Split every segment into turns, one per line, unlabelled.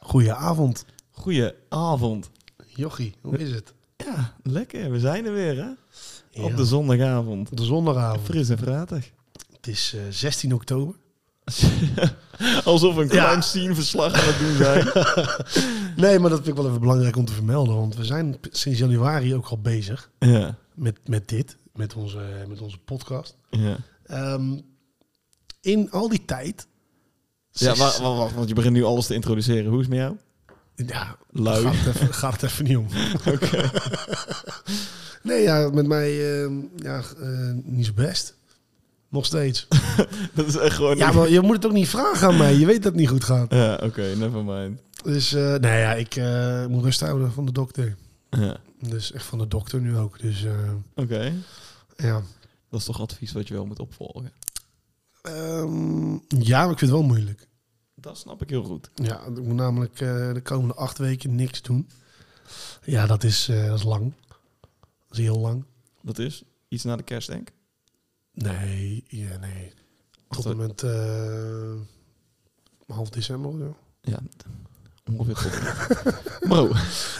Goedenavond,
Goedenavond.
Jochie. Hoe is het?
Ja, lekker. We zijn er weer, hè?
Ja.
Op de zondagavond.
Op de zondagavond.
Fris en fruitig.
Het is eh, 16 oktober.
Alsof we een
Ja.
crime scene verslag aan het doen zijn.
Nee, maar dat vind ik wel even belangrijk om te vermelden. Want we zijn p- sinds januari ook al bezig
ja,
met, met dit. Met onze, met onze podcast.
ja.
Ehm, in al die tijd...
Ja,
sinds-
wa- wa- wacht, want je begint nu alles te introduceren. Hoe is het met jou?
Ja,
Lui.
Gaat het even, gaat het even niet om.
Oké.
Nee, ja, met mij ehm, ja, eh, niet zo best. Nog steeds.
Dat is echt gewoon...
Ja, maar je moet het ook niet vragen aan mij. Je weet dat het niet goed gaat.
Ja, oké, never mind.
Dus eh nou ja, ik eh, moet rust houden van de dokter.
Ja,
Dus echt van de dokter nu ook. Dus eh,
oké.
ja.
Dat is toch advies wat je wel moet opvolgen?
Ehm, ja, maar ik vind het wel moeilijk.
Dat snap ik heel goed.
Ja, ik moet namelijk eh, de komende acht weken niks doen. Ja, dat is, eh, dat is lang. Dat is heel lang.
Dat is iets na de kerst, denk ik.
Nee, ja, nee. Tot
dat-
en met eh, half december of zo.
Ja, ongeveer tot. Bro.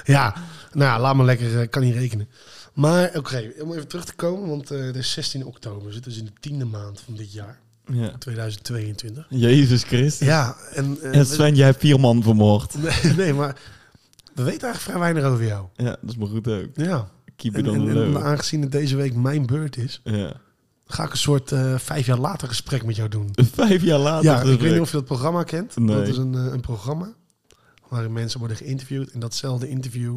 Ja, nou ja, laat me lekker, eh, kan niet rekenen. Maar oké, om even terug te komen, want eh het is 16 oktober. We zitten dus in de tiende maand van dit jaar,
Ja.
2022.
Jezus Christus.
Ja, en... eh,
En Sven, jij hebt vier man vermoord.
nee, nee, maar we weten eigenlijk vrij weinig over jou.
Ja, dat is maar goed ook.
Ja,
Keep it
en,
on
en,
the
en
low.
aangezien het deze week mijn beurt is,
Ja.
ga ik een soort eh, vijf jaar later gesprek met jou doen.
Vijf jaar later.
Ja,
dus
ik weet niet
ik-
of je dat programma kent.
Nee.
Dat is een, eh, een programma waarin mensen worden geïnterviewd. En datzelfde interview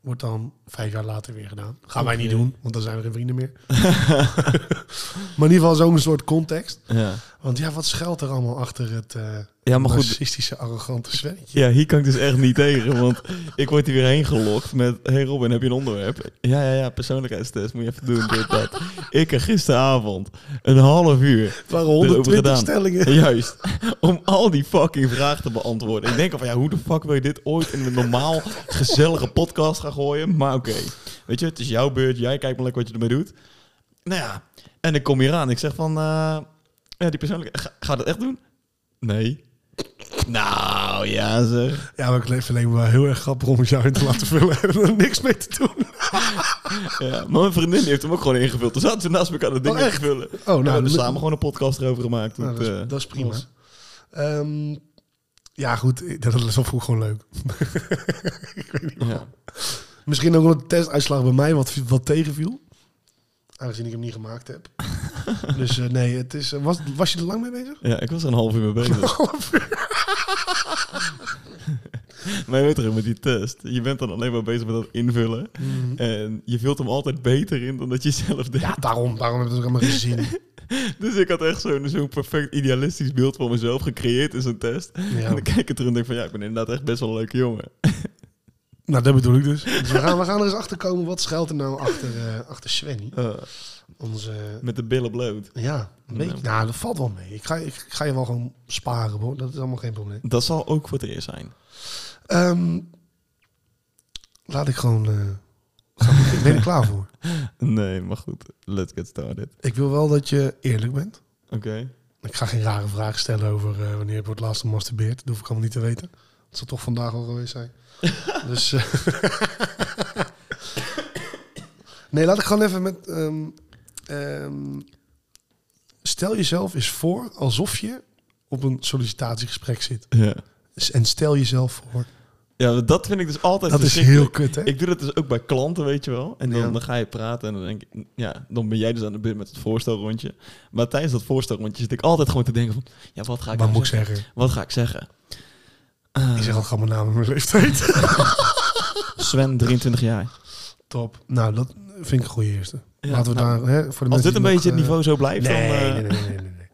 wordt dan vijf jaar later weer gedaan. Gaan wij niet
Oké.
doen, want dan zijn we geen vrienden meer. maar in ieder geval zo'n soort context.
Ja.
Want ja, wat schuilt er allemaal achter het eh
ja, maar goed.
narcistische, arrogante Svennetje?
Ja, hier kan ik dus echt niet tegen, want ik word hier weer heen gelokt met... Hey Robin, heb je een onderwerp? Ja, ja, ja, persoonlijkheidstest, moet je even doen, dit, dat. Ik er gisteravond een half uur,
Het waren
Erover
120
gedaan.
stellingen.
juist, om al die fucking vragen te beantwoorden. Ik denk al van, ja, hoe de fuck wil je dit ooit in een normaal, gezellige podcast gaan gooien? Maar oké, weet je, het is jouw beurt, jij kijkt maar lekker wat je ermee doet. Nou ja, en ik kom hier aan, ik zeg van... eh, ja, die persoonlijke... Ga, ga je dat echt doen? Nee. Nou, ja zeg.
Ja, maar ik leef alleen maar heel erg grappig om het jou in te laten vullen en er niks mee te doen.
Ja, maar mijn vriendin die heeft hem ook gewoon ingevuld. Toen zaten we naast elkaar dat ding
Oh,
in
echt?
te vullen.
Oh, nou,
En we hebben
met-
samen gewoon een podcast erover gemaakt.
Nou, dat, is,
eh,
dat is prima.
was-
Ehm, ja, goed, dat is vroeg gewoon leuk.
Ja.
Misschien ook omdat de testuitslag bij mij wat, wat tegenviel. Aangezien ik hem niet gemaakt heb. dus eh, nee, het is, eh, was, was je er lang mee bezig?
ja, ik was er een half uur mee bezig. maar je weet toch ook met die test. Je bent dan alleen maar bezig met dat invullen. En je vult hem altijd beter in dan dat je zelf deed.
Ja, daarom, daarom heb ik het ook allemaal gezien.
Dus ik had echt zo'n zo'n perfect idealistisch beeld van mezelf gecreëerd in zo'n test. En
Ja.
dan kijk ik terug en denk van ja, ik ben inderdaad echt best wel een leuke jongen.
Nou, dat bedoel ik dus. Dus we gaan, we gaan er eens achter komen. Wat schuilt er nou achter, eh achter Svenny?
Eh,
Onze,
met de billen bloot.
Ja, een beetje.
Ja.
Nou, dat valt wel mee. Ik ga, ik ga je wel gewoon sparen, hoor. Dat is allemaal geen probleem.
Dat zal ook voor het eerst zijn.
Ehm, laat ik gewoon... eh, gaan beginnen. ik ben er klaar voor.
Nee, maar goed. Let's get started.
Ik wil wel dat je eerlijk bent.
Oké.
Ik ga geen rare vragen stellen over eh, wanneer je voor het laatst gemasturbeerd. Dat hoef ik allemaal niet te weten. Dat zal toch vandaag al geweest zijn. dus... eh, nee, laat ik gewoon even met... ehm, ehm, stel jezelf eens voor alsof je op een sollicitatiegesprek zit.
Ja.
Dus- En stel jezelf voor.
Ja, dat vind ik dus altijd
Dat is
verschrikkelijk.
heel kut, hè?
Ik doe dat dus ook bij klanten, weet je wel. En dan,
Ja.
dan ga je praten en dan denk ik... Ja, dan ben jij dus aan de beurt met het voorstelrondje. Maar tijdens dat voorstelrondje zit ik altijd gewoon te denken van... Ja, wat ga ik,
Wat
nou
moet ik zeggen?
Wat ga ik zeggen? Eh,
Ik zeg al gewoon mijn naam en mijn leeftijd.
Sven, 23 jaar.
Top. Nou, dat vind ik een goede eerste.
Ja,
Laten we
nou,
daar... Hè, voor de mensen
Als dit een
die
beetje
nog,
het
eh,
niveau zo blijft,
Nee,
dan... eh,
nee, nee, nee, nee, nee.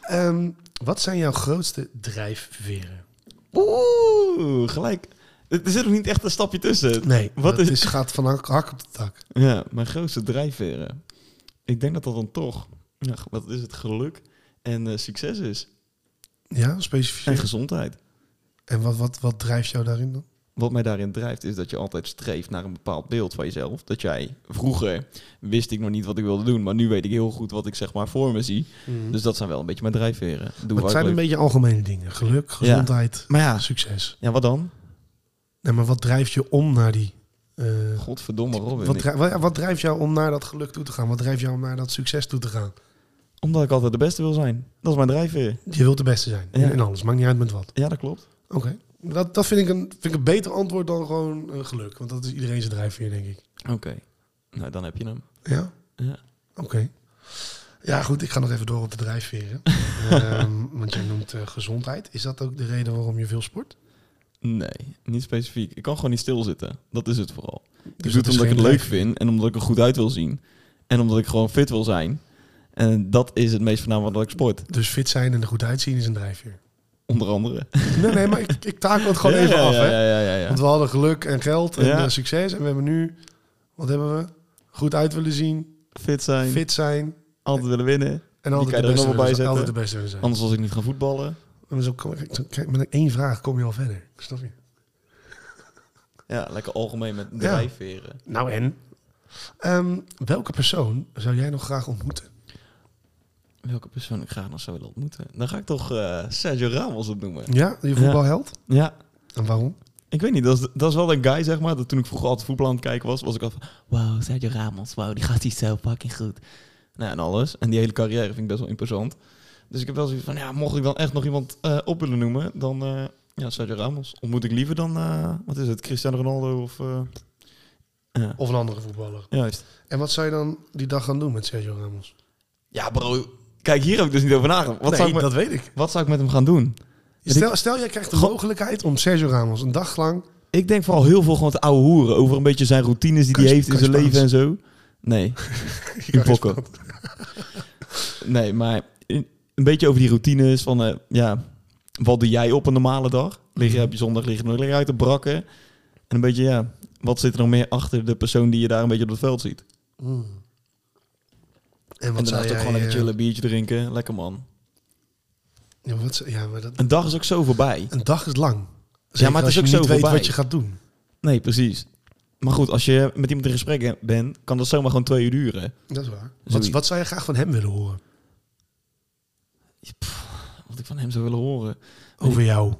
Ehm, wat zijn jouw grootste drijfveren?
Oeh, gelijk. Er er zit ook niet echt een stapje tussen.
Nee,
Wat
dat
is-
is, gaat van hak hak op de tak.
Ja, mijn grootste drijfveren. Ik denk dat dat dan toch... Ja, wat is het? Geluk en eh, succes is.
Ja,
En
specifiek.
gezondheid.
En wat, wat, wat drijft jou daarin dan?
Wat mij daarin drijft is dat je altijd streeft naar een bepaald beeld van jezelf. Dat jij vroeger wist ik nog niet wat ik wilde doen, maar nu weet ik heel goed wat ik zeg maar voor me zie. Dus dat zijn wel een beetje mijn drijfveren. Doe
Maar
waar
het
ik
zijn een
leuk-
beetje algemene dingen. Geluk, gezondheid,
Maar ja,
succes.
ja, wat dan?
Nee, maar wat drijft je om naar die... eh,
Godverdomme, Robin.
wat,
Ik-
drij- wat, wat drijft jou om naar dat geluk toe te gaan? Wat drijft jou om naar dat succes toe te gaan?
Omdat ik altijd de beste wil zijn. Dat is mijn drijfveer.
Je wilt de beste zijn.
Ja.
In, in alles. Maakt niet uit met wat.
Ja, dat klopt.
Oké. Dat, dat vind, ik een, vind ik een beter antwoord dan gewoon eh, geluk. Want dat is iedereen zijn drijfveer, denk ik.
Oké. Nou, dan heb je hem.
Ja?
Ja.
Oké. Ja, goed. Ik ga nog even door op de drijfveren. Ehm, want jij noemt eh, gezondheid. Is dat ook de reden waarom je veel sport?
Nee, niet specifiek. Ik kan gewoon niet stilzitten. Dat is het vooral. ik
Dus
doe
dat
het
is
omdat
geen
ik het leuk
drijfveer.
vind en omdat ik er goed uit wil zien. En omdat ik gewoon fit wil zijn. En dat is het meest voornamelijk dat ik sport.
Dus fit zijn en er goed uitzien is een drijfveer.
Onder andere.
Nee, nee, maar ik, ik takel het gewoon
Ja,
even
ja,
af.
ja,
hè?
Ja, ja, ja, ja.
Want we hadden geluk en geld en
Ja.
eh, succes. En we hebben nu, wat hebben we? Goed uit willen zien,
Fit zijn,
fit zijn.
altijd willen winnen.
En altijd,
kan je
de
er
beste,
nog wel bij
willen zijn,
zetten.
altijd de beste willen zijn.
Anders was ik niet gaan voetballen.
Maar zo kom, ik- zo- kijk, met één vraag kom je al verder. Snap je?
Ja, lekker algemeen met drijfveren.
Nou en? Ehm, welke persoon zou jij nog graag ontmoeten?
Welke persoon ik graag nog zou willen ontmoeten? Dan ga ik toch eh, Sergio Ramos opnoemen.
Ja, je voetbalheld?
Ja,
En waarom?
Ik weet niet, dat is, dat is wel een guy, zeg maar. Dat toen ik vroeger altijd voetbal aan het kijken was, was ik al van... Wow, Sergio Ramos, wow, die gaat hij zo fucking goed. Nou, ja, en alles. En die hele carrière vind ik best wel imposant. Dus ik heb wel zoiets van, ja, mocht ik dan echt nog iemand eh, op willen noemen, dan... eh, ja, Sergio Ramos. Ontmoet ik liever dan, eh, wat is het, Cristiano Ronaldo of... eh, ja,
Of een andere voetballer.
juist.
En wat zou je dan die dag gaan doen met Sergio Ramos?
Ja, bro. Kijk, hier heb ik dus niet over nagedacht. Wat, zou, ik met,
dat weet ik.
wat zou ik met hem gaan doen?
Stel, stel, jij krijgt de mogelijkheid om Sergio Ramos een dag lang...
Ik denk vooral heel veel gewoon te ouwe hoeren. Over een beetje zijn routines die
Kan
hij
je-
heeft in
kan je
zijn leven en zo. Nee. In pokken. Nee, maar in- een beetje over die routines van, eh, ja, wat doe jij op een normale dag? Lig je, heb je zondag liggen nog lekker uit te brakken? En een beetje, ja, wat zit er nog meer achter de persoon die je daar een beetje op het veld ziet?
Mm. En
en
wat zou
daarnaast
jij...
ook gewoon lekker
eh,
chillen, biertje drinken, lekker man.
Ja, wat, zou- ja, maar dat,
Een dag is ook zo voorbij.
een dag is lang.
Ja, maar het
als
is ook
je
zo
niet weet
voorbij.
wat je gaat doen.
Nee, precies. Maar goed, als je met iemand in gesprek he- bent, kan dat zomaar gewoon twee uur duren.
Dat is waar. Wat,
Zoiets.
wat zou je graag van hem willen horen?
Wat ik van hem zou willen horen.
Over jou.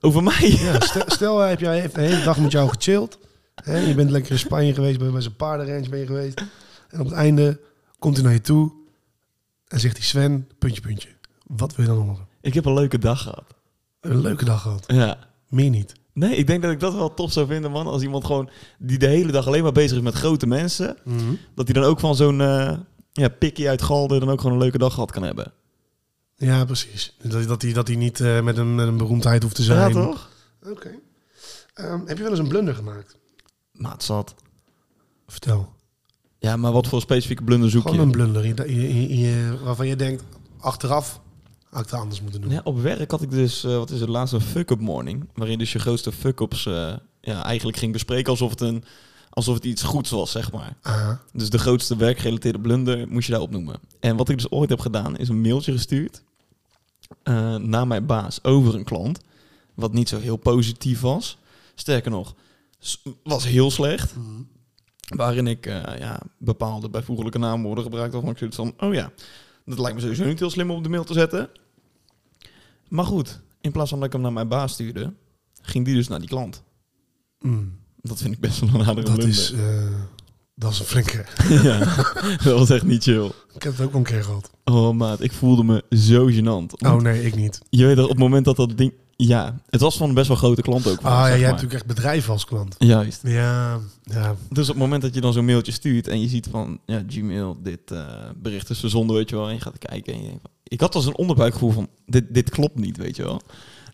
Over mij?
Ja, stel, stel eh, heb jij heeft de hele dag met jou gechilled. Hè? Je bent lekker in Spanje geweest, bij bij zijn paardenrange ben je geweest. En op het einde komt hij naar je toe en zegt hij Sven, puntje, puntje. Wat wil je dan horen?
Ik heb een leuke dag gehad.
Een leuke dag gehad.
Ja.
Meer niet.
Nee, ik denk dat ik dat wel tof zou vinden, man. Als iemand gewoon die de hele dag alleen maar bezig is met grote mensen, dat hij dan ook van zo'n eh ja, pikkie uit Galden dan ook gewoon een leuke dag gehad kan hebben.
Ja, precies. Dat, dat, hij, dat hij niet eh, met, een, met een beroemdheid hoeft te
Ja,
zijn.
toch?
Oké. Ehm, heb je wel eens een blunder gemaakt?
Maat zat.
Vertel.
Ja, maar wat voor specifieke blunder zoek
Gewoon een
je?
blunder in, in- in- in- waarvan je denkt, achteraf had ik het anders moeten doen.
Ja, op werk had ik dus, eh, wat is het, laatste fuck-up morning, waarin dus je grootste fuck-ups eh, ja, eigenlijk ging bespreken alsof het, een, alsof het iets goeds was, zeg maar.
Ah,
Dus de grootste werkgerelateerde blunder moest je daar opnoemen. En wat ik dus ooit heb gedaan, is een mailtje gestuurd eh, naar mijn baas over een klant. Wat niet zo heel positief was. Sterker nog, s- was heel slecht. Waarin ik eh, ja, bepaalde bijvoeglijke naamwoorden gebruikt had. Maar ik zoiets van, oh ja, dat lijkt me sowieso niet heel slim om op de mail te zetten. Maar goed, in plaats van dat ik hem naar mijn baas stuurde, ging die dus naar die klant.
mm.
Dat vind ik best wel een aardige
dat,
blunder.
is, eh, dat is een flinke.
ja, dat was echt niet chill.
Ik heb het ook al een keer gehad.
Oh maat, ik voelde me zo gênant.
Oh
Want
nee, ik niet.
Je weet dat op het moment dat dat ding... Ja, het was van een best wel grote klant ook.
Ah ja,
zeg
jij hebt
maar.
natuurlijk echt bedrijven als klant.
Juist.
Ja, ja.
Dus op het moment dat je dan zo'n mailtje stuurt en je ziet van... Ja, Gmail, dit eh, bericht is verzonden, weet je wel. En je gaat kijken en je denkt van... Ik had al zo'n onderbuikgevoel van, dit, dit klopt niet, weet je wel.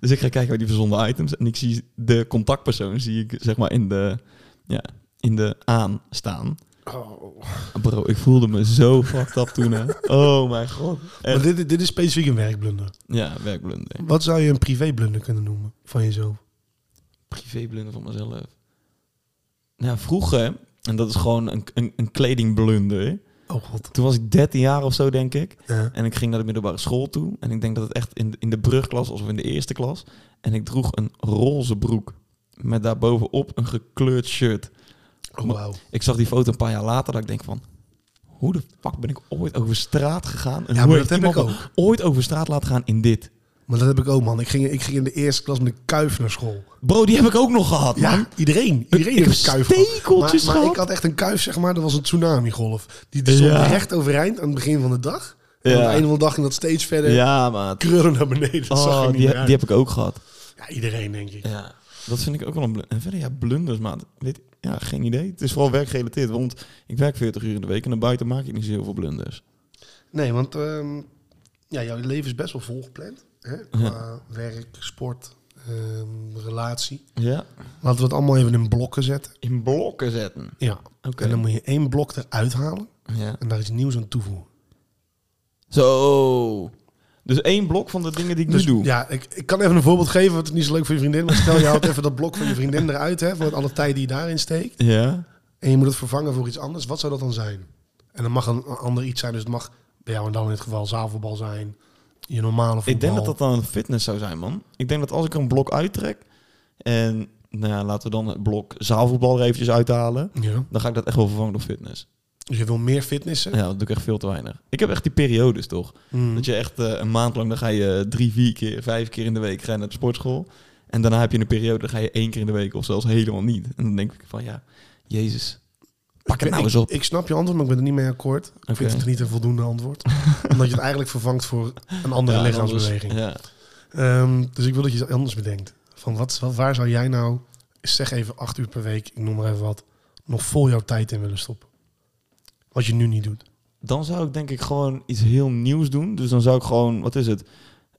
Dus ik ga kijken bij die verzonden items en ik zie de contactpersoon, zie ik zeg maar in de... Ja, in de aan staan. Bro, ik voelde me zo fucked up toen, hè. Oh mijn god.
Maar
Echt.
dit, dit is specifiek een werkblunder.
Ja, werkblunder.
Wat zou je een privéblunder kunnen noemen van jezelf?
privéblunder van mezelf. Nou, vroeger, en dat is gewoon een, een, een kledingblunder.
Oh god.
Toen was ik 13 jaar of zo, denk ik.
Ja.
En ik ging naar de middelbare school toe. En ik denk dat het echt in, de- in de brugklas was of in de eerste klas. En ik droeg een roze broek. Met daarbovenop een gekleurd shirt.
Oh wauw.
Ik zag die foto een paar jaar later dat ik denk van... Hoe de fuck ben ik ooit over straat gegaan? En
Ja,
hoe
maar
heeft
dat heb ik
iemand me ooit over straat laten gaan in dit?
Maar dat heb ik ook, man. Ik ging, ik ging in de eerste klas met een kuif naar school.
Bro, die heb ik ook nog gehad, man.
Ja, iedereen. Iedereen
Ik
heeft
heb
een kuif gehad.
stekeltjes
maar, maar
gehad.
ik had echt een kuif, zeg maar. Dat was een tsunami-golf. Die, die stond
Ja.
recht overeind aan het begin van de dag. En
Ja.
aan het einde van de dag ging dat steeds verder
Ja, maat.
krullen naar beneden. Dat zag
Oh,
ik
die,
niet meer uit.
die heb ik ook gehad.
Ja, iedereen, denk ik.
Ja, dat vind ik ook wel een blunder. En verder, ja, blunders, maat. Weet, ja, geen idee. Het is vooral werkgerelateerd, want ik werk 40 uur in de week en naar buiten maak ik niet zo heel veel blunders.
Nee, want ehm, ja, jouw leven is best wel volgepland. Hè? Qua werk, sport, ehm, relatie.
Ja.
Laten we het allemaal even in blokken zetten.
In blokken zetten.
Ja.
Oké.
En dan moet je één blok eruit halen
Ja.
en daar iets nieuws aan toevoegen.
Zo. Dus één blok van de dingen die ik
Dus
nu doe.
ja, ik, ik kan even een voorbeeld geven, want het is niet zo leuk voor je vriendin. Maar stel, je haalt even dat blok van je vriendin eruit, hè, voor alle tijd die je daarin steekt.
Ja.
En je moet het vervangen voor iets anders. Wat zou dat dan zijn? En dan mag een, een ander iets zijn, dus het mag bij jou en dan in het geval zaalvoetbal zijn. Je normale voetbal.
Ik denk dat dat dan fitness zou zijn, man. Ik denk dat als ik een blok uittrek en nou ja, laten we dan het blok zaalvoetbal er eventjes uithalen,
Ja.
dan ga ik dat echt wel vervangen door fitness.
Dus je wil meer fitnessen?
Ja, dat doe ik echt veel te weinig. Ik heb echt die periodes toch.
Mm.
Dat je echt eh, een maand lang, dan ga je drie, vier keer, vijf keer in de week ga je naar de sportschool. En daarna heb je een periode, dan ga je één keer in de week of zelfs helemaal niet. En dan denk ik van ja, Jezus, pak het
Ik-
nou
ik,
eens op.
Ik snap je antwoord, maar ik ben er niet mee akkoord. Ik
Oké.
vind het niet een voldoende antwoord. omdat je het eigenlijk vervangt voor een andere
Ja,
lichaamsbeweging.
anders- Ja.
Ehm, dus ik wil dat je iets anders bedenkt. Van wat, wat- waar zou jij nou, zeg even acht uur per week, ik noem maar even wat, nog vol jouw tijd in willen stoppen? Wat je nu niet doet.
Dan zou ik denk ik gewoon iets heel nieuws doen. Dus dan zou ik gewoon, wat is het,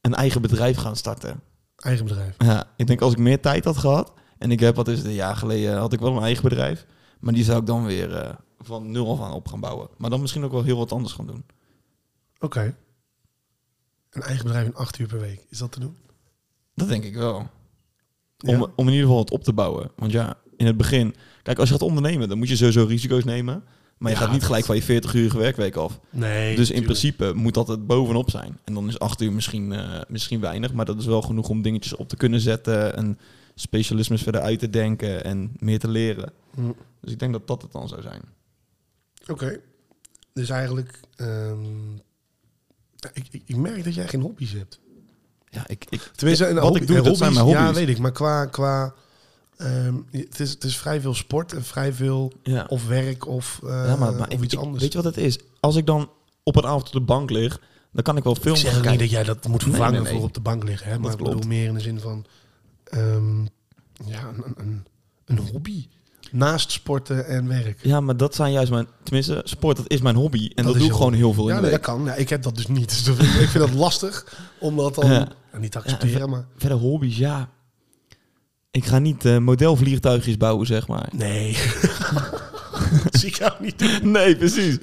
een eigen bedrijf gaan starten.
Eigen bedrijf.
Ja, ik denk als ik meer tijd had gehad. En ik heb, wat is het, een jaar geleden had ik wel een eigen bedrijf. Maar die zou ik dan weer eh, van nul af aan op gaan bouwen. Maar dan misschien ook wel heel wat anders gaan doen.
Oké. Een eigen bedrijf in acht uur per week. Is dat te doen?
Dat denk ik wel.
Ja?
Om, om in ieder geval wat op te bouwen. Want ja, in het begin... Kijk, als je gaat ondernemen, dan moet je sowieso risico's nemen. Maar je
Ja,
gaat niet
dat-
gelijk van je 40-urige werkweek af.
Nee.
dus in principe moet dat het bovenop zijn. En dan is acht uur misschien, eh, misschien weinig. Maar dat is wel genoeg om dingetjes op te kunnen zetten. En specialismes verder uit te denken. En meer te leren.
principe.
Dus ik denk dat dat het dan zou zijn.
Oké. Dus eigenlijk, ehm, ja, ik, ik, ik merk dat jij geen hobby's hebt.
Ja, ik, ik,
Tenminste, een
wat
hobby-
ik doe,
een
dat zijn mijn hobby's.
Ja, weet ik. Maar qua... qua ehm, het, is, het is vrij veel sport en vrij veel
ja.
of werk of, eh,
ja, maar, maar
of
ik-
iets
ik-
anders.
Weet je wat het is? Als ik dan op een avond op de bank lig, dan kan ik wel
ik
filmen
zeg ook
gaan
niet
kijken.
dat jij dat moet
Nee,
vervangen
nee, nee.
voor op de bank liggen. Hè? Maar ik bedoel
klopt.
meer in de zin van... ehm, ja, een, een- een, een hobby. Naast sporten en werk.
Ja, maar dat zijn juist mijn... Tenminste, sport, dat is mijn hobby. En dat,
is
doe
je
ik gewoon heel veel
Ja,
in de
nee, dat
week.
kan. Ja, ik heb dat dus niet. Dus dat vind ik ik vind dat lastig om dat dan
Ja.
ja, niet te accepteren. maar
Verder hobby's, ja. Ik ga niet eh, modelvliegtuigjes bouwen, zeg maar.
nee, dat zie ik jou niet doen.
Nee, precies.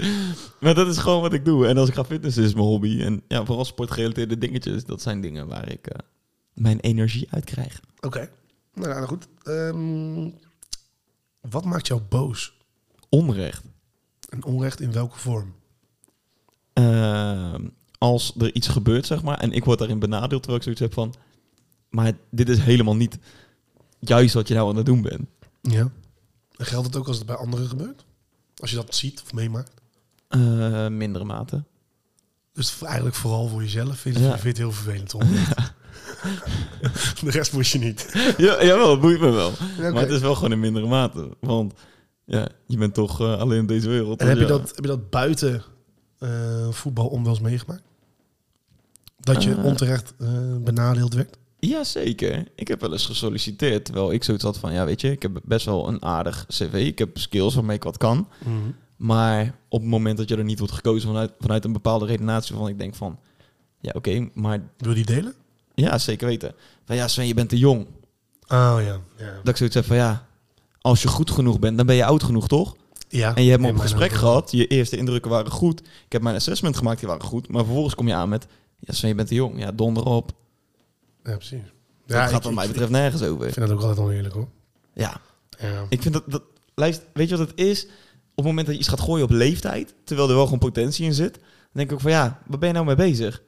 Maar dat is gewoon wat ik doe. En als ik ga fitnessen, is mijn hobby. En ja, vooral sportgerelateerde dingetjes, dat zijn dingen waar ik eh, mijn energie uit krijg.
Oké. Nou, ja, nou goed. Ehm, wat maakt jou boos?
Onrecht.
En onrecht in welke vorm?
Ehm, als er iets gebeurt, zeg maar, en ik word daarin benadeeld, terwijl ik zoiets heb van, maar dit is helemaal niet juist wat je nou aan het doen bent.
Ja. En geldt het ook als het bij anderen gebeurt? Als je dat ziet of meemaakt?
Eh, mindere mate.
Dus v- eigenlijk vooral voor jezelf vind je,
Ja.
je vindt het heel vervelend. Onrecht. De rest moest je niet.
ja, jawel, het boeit me wel.
Oké.
Maar het is wel gewoon in mindere mate. Want ja, je bent toch eh, alleen in deze wereld.
En
dus
heb je
ja.
dat, heb je dat buiten eh, voetbal onwels meegemaakt? Dat je
Eh.
onterecht eh, benadeeld werd?
Jazeker. Ik heb wel eens gesolliciteerd. Terwijl ik zoiets had van, ja weet je, ik heb best wel een aardig cv. Ik heb skills waarmee ik wat kan.
Mhm.
Maar op het moment dat je er niet wordt gekozen vanuit, vanuit een bepaalde redenatie... van ik denk van, ja oké, maar
Wil je die delen?
ja, zeker weten. Van ja Sven, je bent te jong.
Oh ja. Ja.
Dat ik zoiets heb van, ja, als je goed genoeg bent, dan ben je oud genoeg toch?
ja.
En je hebt me
Nee,
op een
maar
gesprek
nou-
gehad. Je eerste indrukken waren goed. Ik heb mijn assessment gemaakt, die waren goed. Maar vervolgens kom je aan met... Ja, Sven, je bent te jong. Ja, donder op.
Ja, precies.
dat gaat
ik-
wat mij
ik-
betreft nergens
Ik
over.
vind dat ook altijd oneerlijk hoor.
Ja,
Ja.
ik vind dat... dat luister, weet je wat het is? Op het moment dat je iets gaat gooien op leeftijd... terwijl er wel gewoon potentie in zit... dan denk ik ook van ja, waar ben je nou mee bezig?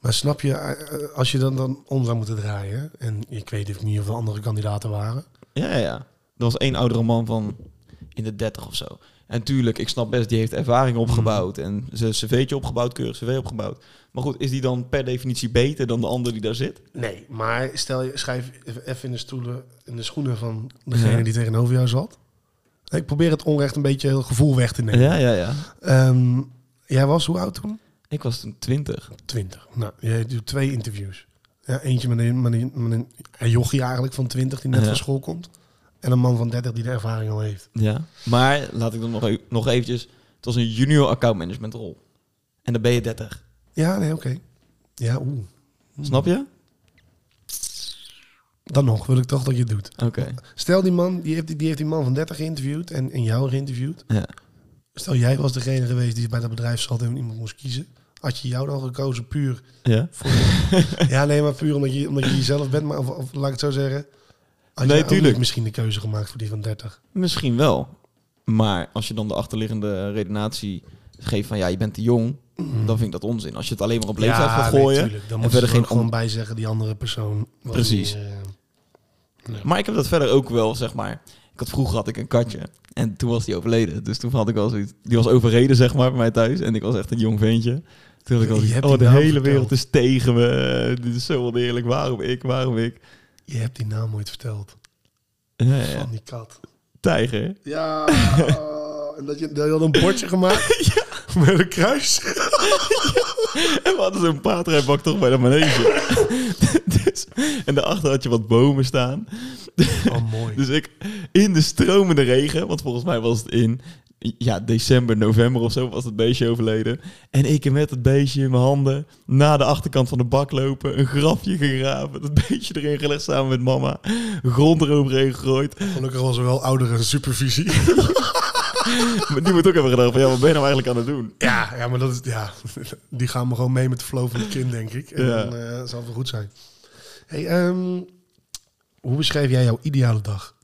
Maar snap je, eh, als je dan, dan om zou moeten draaien, hè, en ik weet even niet of er andere kandidaten waren.
Ja, ja, ja. Er was één oudere man van in de 30 of zo. En En tuurlijk, ik snap best, die heeft ervaring
Hmm.
opgebouwd. En zijn cv'tje opgebouwd, keurig cv opgebouwd. Maar goed, is die dan per definitie beter dan de ander die daar zit?
Nee, maar stel je, schrijf even in de stoelen, in de schoenen van degene die tegenover jou zat. Ik probeer het onrecht een beetje heel gevoel weg te nemen.
Ja, ja, ja.
Ehm, jij was hoe oud toen?
Ik was toen 20.
Twintig. Nou, jij doet twee interviews. Ja, eentje met een, met, een, met een- een jochie eigenlijk van twintig die net
Ja.
van school komt. En een man van dertig die de ervaring al heeft.
Ja. Maar laat ik dan nog, e- nog eventjes... Het was een junior account management rol. En dan ben je 30.
Ja, nee, oké. Ja, oeh. Hmm.
Snap je?
Dan nog wil ik toch dat je het doet.
Oké.
Stel die man, die heeft die, die heeft die man van 30 geïnterviewd en, en jou geïnterviewd.
Ja.
Stel jij was degene geweest die bij dat bedrijf zat en iemand moest kiezen. Had je jou dan gekozen puur
Ja.
voor... ja, nee, maar puur omdat je, omdat je jezelf bent, maar of, of laat ik het zo zeggen. Had
Nee,
jij ook niet
tuurlijk.
misschien de keuze gemaakt voor die van 30.
Misschien wel. Maar als je dan de achterliggende redenatie geeft van... Ja, je bent te jong. Dan vind ik dat onzin. Als je het alleen maar op leeftijd
Hmm. ja,
gaat
nee,
gooien...
tuurlijk. Dan moet
en
je
verder
er ook
geen
gewoon bij zeggen die andere persoon. was
Precies.
die, eh,
Maar ik heb dat verder ook wel, zeg maar. Ik had, vroeger had ik een katje. En toen was die overleden. Dus toen had ik wel zoiets. Die was overreden, zeg maar, bij mij thuis. En ik was echt een jong ventje. Toen had ik
Je
al zoiets,
hebt
Oh,
die
de
naam
hele
verteld.
wereld is tegen me. Dit is zo oneerlijk. Waarom ik? Waarom ik?
je hebt die naam ooit verteld.
Ja, ja, ja.
Van die kat.
Tijger.
Ja, oh, en dat je, dat je had een bordje gemaakt met een kruis.
En we hadden zo'n paardrijbak toch bij de manege. dus, en daarachter had je wat bomen staan.
Oh, mooi.
Dus ik in de stromende regen, want volgens mij was het in ja, december, november of zo was het beestje overleden. En ik met het beestje in mijn handen naar de achterkant van de bak lopen, een grafje gegraven, het beestje erin gelegd samen met mama, grond eroverheen gegooid.
Gelukkig was er wel oudere supervisie.
Maar die moet ook hebben gedacht van ja, wat ben je nou eigenlijk aan het doen?
Ja, ja maar dat is, ja, die gaan me gewoon mee met de flow van het kind, denk ik. En
Ja.
dan eh, zal het wel goed zijn. Hey, ehm, hoe beschrijf jij jouw ideale dag?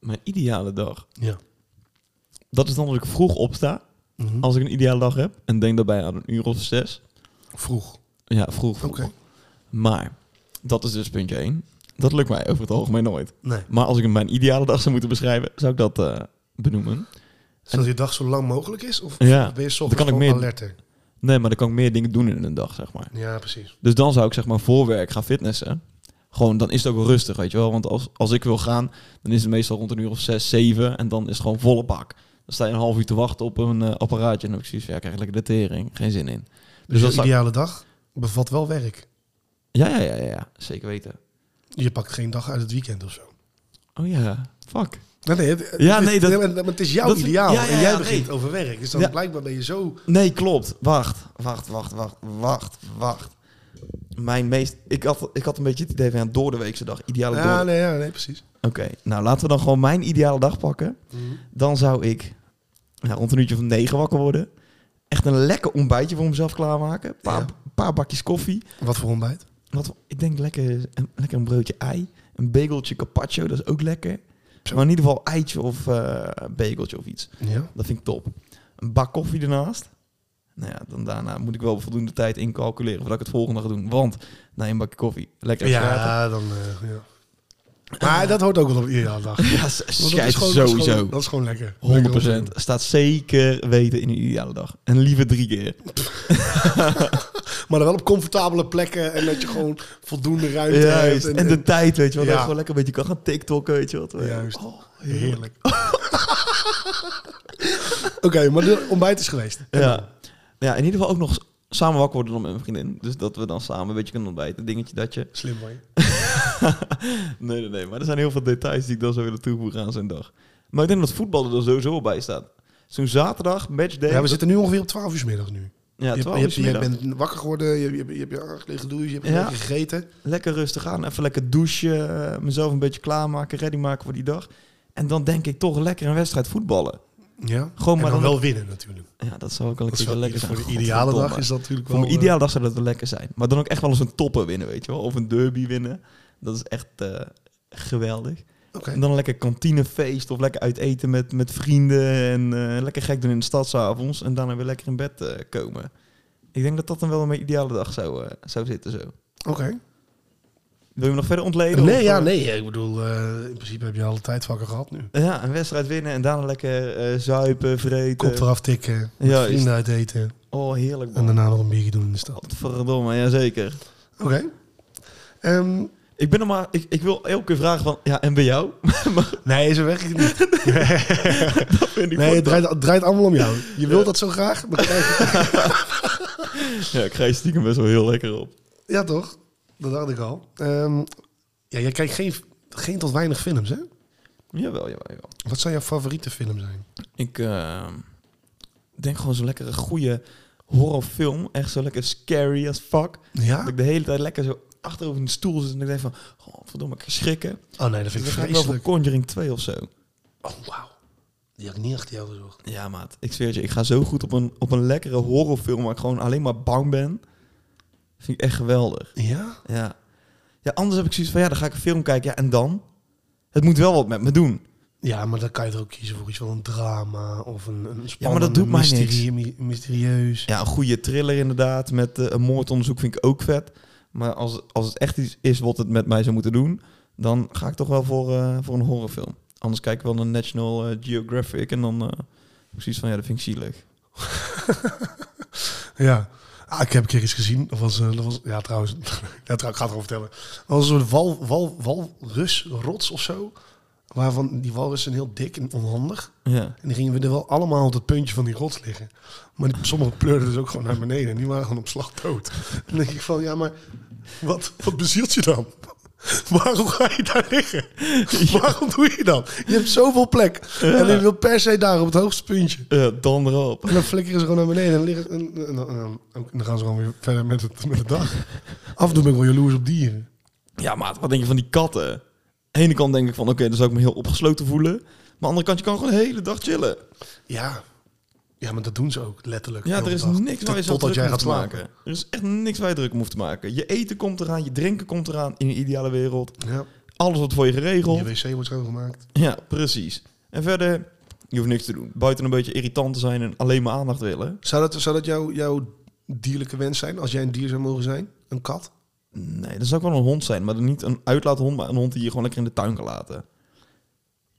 Mijn ideale dag.
Ja.
Dat is dan dat ik vroeg opsta, als ik een ideale dag heb, en denk daarbij aan een uur of zes.
Vroeg.
Ja, vroeg.
Oké.
vroeg. Maar, dat is dus puntje één. Dat lukt mij over het algemeen nooit.
Nee.
Maar als ik hem mijn ideale dag zou moeten beschrijven, zou ik dat eh, benoemen.
Zodat je dag zo lang mogelijk is? Of
Ja,
ben je
dan
soms
kan ik
gewoon
meer-
alerter?
Nee, maar dan kan ik meer dingen doen in een dag, zeg maar.
Ja, precies.
Dus dan zou ik zeg maar voor werk gaan fitnessen. Gewoon, dan is het ook wel rustig, weet je wel. Want als, als ik wil gaan, dan is het meestal rond een uur of zes, zeven. En dan is het gewoon volle bak. Dan sta je een half uur te wachten op een eh, apparaatje. En dan heb ik zoiets van, ja, ik krijg lekker de tering. Geen zin in.
Dus,
Dus dat
jouw
zou-
ideale dag bevat wel werk.
Ja, ja, ja, ja, ja. Zeker weten.
Je pakt geen dag uit het weekend of zo.
Oh ja, fuck.
Nee, nee, het,
Ja,
het is-
nee, dat-
maar- maar het is jouw
dat-
ideaal.
ja, ja,
en jij
ja,
begint over werk. Dus dan
Ja.
blijkbaar ben je zo...
Nee, klopt. Wacht, wacht, wacht, wacht, wacht, wacht. Mijn meest... Ik had, ik had een beetje het idee van, ja, door de weekse dag. Ideale door
Ja, Ah, nee, ja, nee, precies.
Oké, nou laten we dan gewoon mijn ideale dag pakken. Dan zou ik nou, rond een uurtje van negen wakker worden. Echt een lekker ontbijtje voor mezelf klaarmaken. Een paar,
Ja.
paar bakjes koffie.
Wat voor ontbijt?
Wat, voor- ik denk lekker een, lekker een broodje ei. Een bageltje carpaccio, dat is ook lekker. Maar in ieder geval eitje of eh, bageltje of iets.
Ja.
Dat vind ik top. Een bak koffie ernaast. Nou ja, dan daarna moet ik wel voldoende tijd incalculeren voordat ik het volgende ga doen. Want na een bakje koffie, lekker even praten.
Ja, dan... eh, ja. Maar dat hoort ook wel op je ideale dag. Want
Ja,
dat is
schijt
gewoon- dat is gewoon-
Ah. sowieso.
Dat is gewoon lekker.
100% staat zeker weten in uw ideale dag. En liever drie keer.
Maar dan wel op comfortabele plekken en dat je gewoon voldoende ruimte
Juist.
hebt.
En, de tijd, weet je wel.
Ja.
Dat je gewoon lekker een beetje kan gaan TikTokken, weet je wat.
Juist.
Oh, heerlijk.
Heerlijk. Oké, maar de ontbijt is geweest. En dan?
Ja. ja, in ieder geval ook nog s- samen wakker worden dan met mijn vriendin. Dus dat we dan samen een beetje kunnen ontbijten. Dingetje dat je...
Slim van je.
Nee, nee, nee. Maar er zijn heel veel details die ik dan zou willen toevoegen aan zijn dag. Maar ik denk dat voetballen er sowieso wel bij staat. Zo'n zaterdag, matchday.
Ja, we zitten nu ongeveer op 12 uur 's middag nu.
Ja,
je, hebt-
12
je,
uur
hebt-
's
je
middag.
bent wakker geworden, je, je, je hebt je aangelegen douche, je hebt
Ja.
lekker gegeten.
Lekker rustig aan, even lekker douchen, eh, mezelf een beetje klaarmaken, ready maken voor die dag. En dan denk ik toch lekker een wedstrijd voetballen.
Ja.
Gewoon
en
maar
dan
dan-
wel winnen natuurlijk.
Ja, dat zou ook wel een
Dat is
keer
wel
lekker
voor
zijn.
de ideale dag
Godverdomme.
is dat natuurlijk
Voor
wel...
mijn
eh,
ideale dag zou dat wel lekker zijn. Maar dan ook echt wel eens een toppen winnen, weet je wel. Of een derby winnen. Dat is echt eh, geweldig.
eh, Oké.
En dan een lekker kantinefeest of lekker uit eten met, met vrienden. En eh, lekker gek doen in de stad 's avonds En daarna weer lekker in bed eh, komen. Ik denk dat dat dan wel mijn ideale dag zou, eh, zou zitten zo.
Oké.
Wil je me nog verder ontleden?
Nee,
Of,
ja,
eh,
nee. Ik bedoel, eh, in principe heb je alle tijdvakken gehad nu.
Ja, een wedstrijd winnen en daarna lekker eh, zuipen, vreten.
Kop eraf tikken, met
Ja, is-
vrienden uit eten
Oh, heerlijk
en
man.
daarna nog een biertje doen in de stad.
Godverdomme, jazeker.
Oké. Ehm,
Ik ben nog maar... Ik, ik wil elke keer vragen van... Ja, en bij jou?
nee, zo werkt het niet.
Vind ik
Nee, het
goed.
draait, het draait allemaal om jou. Je
Ja.
wilt dat zo graag, maar krijg je...
Ja, ik ga je stiekem best wel heel lekker op.
Ja, toch? Dat dacht ik al. Ehm, ja, jij kijkt geen, geen tot weinig films, hè?
Jawel, jawel, jawel.
Wat zou jouw favoriete film zijn?
Ik eh, denk gewoon zo'n lekkere goede horrorfilm. Echt zo lekker scary as fuck. Dat
Ja?
ik de hele tijd lekker zo achterover in de stoel zit en ik denk van... Oh, verdomme, ik schrikken.
Oh nee, dat
Dus
vind
dan
ik
ga ik wel voor
vreselijk.
Conjuring 2 of zo.
Oh, wauw. Die had ik niet achter jou gezocht.
Ja, maat. Ik zweer het je, ik ga zo goed op een, op een lekkere horrorfilm waar ik gewoon alleen maar bang ben. Vind ik echt geweldig.
Ja?
Ja. Ja, anders heb ik zoiets van, ja, dan ga ik een film kijken. Ja, en dan? Het moet wel wat met me doen.
Ja, maar dan kan je er ook kiezen voor iets van een drama of een, een spannende,
doet mij
mysterie- my- mysterieus.
Ja, een goede thriller inderdaad. Met eh, een moordonderzoek vind ik ook vet. Maar als, als het echt iets is wat het met mij zou moeten doen... dan ga ik toch wel voor, eh, voor een horrorfilm. Anders kijk ik wel naar National eh, Geographic... en dan eh, precies van, ja, dat vind ik zielig.
Ja. Ah, ik heb een keer iets gezien. Dat was, eh, dat was ja, trouwens. ja, trouw, ik ga het erover vertellen. Dat was een soort wal, wal, walrusrots of zo. Waarvan die walrussen heel dik en onhandig.
Ja.
En die gingen we er wel allemaal op het puntje van die rots liggen. Maar die, sommigen pleurden dus ook gewoon naar beneden. En die waren gewoon op slag dood. En dan denk ik van, ja, maar wat, wat bezielt je dan? Waarom ga je daar liggen? Waarom doe je dat? Je hebt zoveel plek. En je wil per se daar op het hoogste puntje.
Ja, Eh, dan erop.
En dan flikkeren ze gewoon naar beneden en, liggen, en, en- en dan, en dan gaan ze gewoon weer verder met, het, met de dag. Af en toe ben ik wel jaloers op dieren.
Ja, maat, wat denk je van die katten? Aan de ene kant denk ik van, oké, dan zou ik me heel opgesloten voelen. Maar aan de andere kant, je kan gewoon de hele dag chillen.
Ja. ja, maar dat doen ze ook, letterlijk.
Ja,
heel
er
de
is
dag.
niks waar je
Tot-
zo
Totdat
druk
jij
om
gaat
hoeft te
slapen.
maken. Er is echt niks waar je druk om hoeft te maken. Je eten komt eraan, je drinken komt eraan in een ideale wereld.
Ja.
Alles wordt voor je geregeld.
Je wc wordt schoongemaakt.
Ja, precies. En verder, je hoeft niks te doen. Buiten een beetje irritant te zijn en alleen maar aandacht willen.
Zou dat, zou dat jou, jouw dierlijke wens zijn, als jij een dier zou mogen zijn? Een kat?
Nee, dat zou ook wel een hond zijn. Maar dan niet een uitlaathond, maar een hond die je gewoon lekker in de tuin kan laten.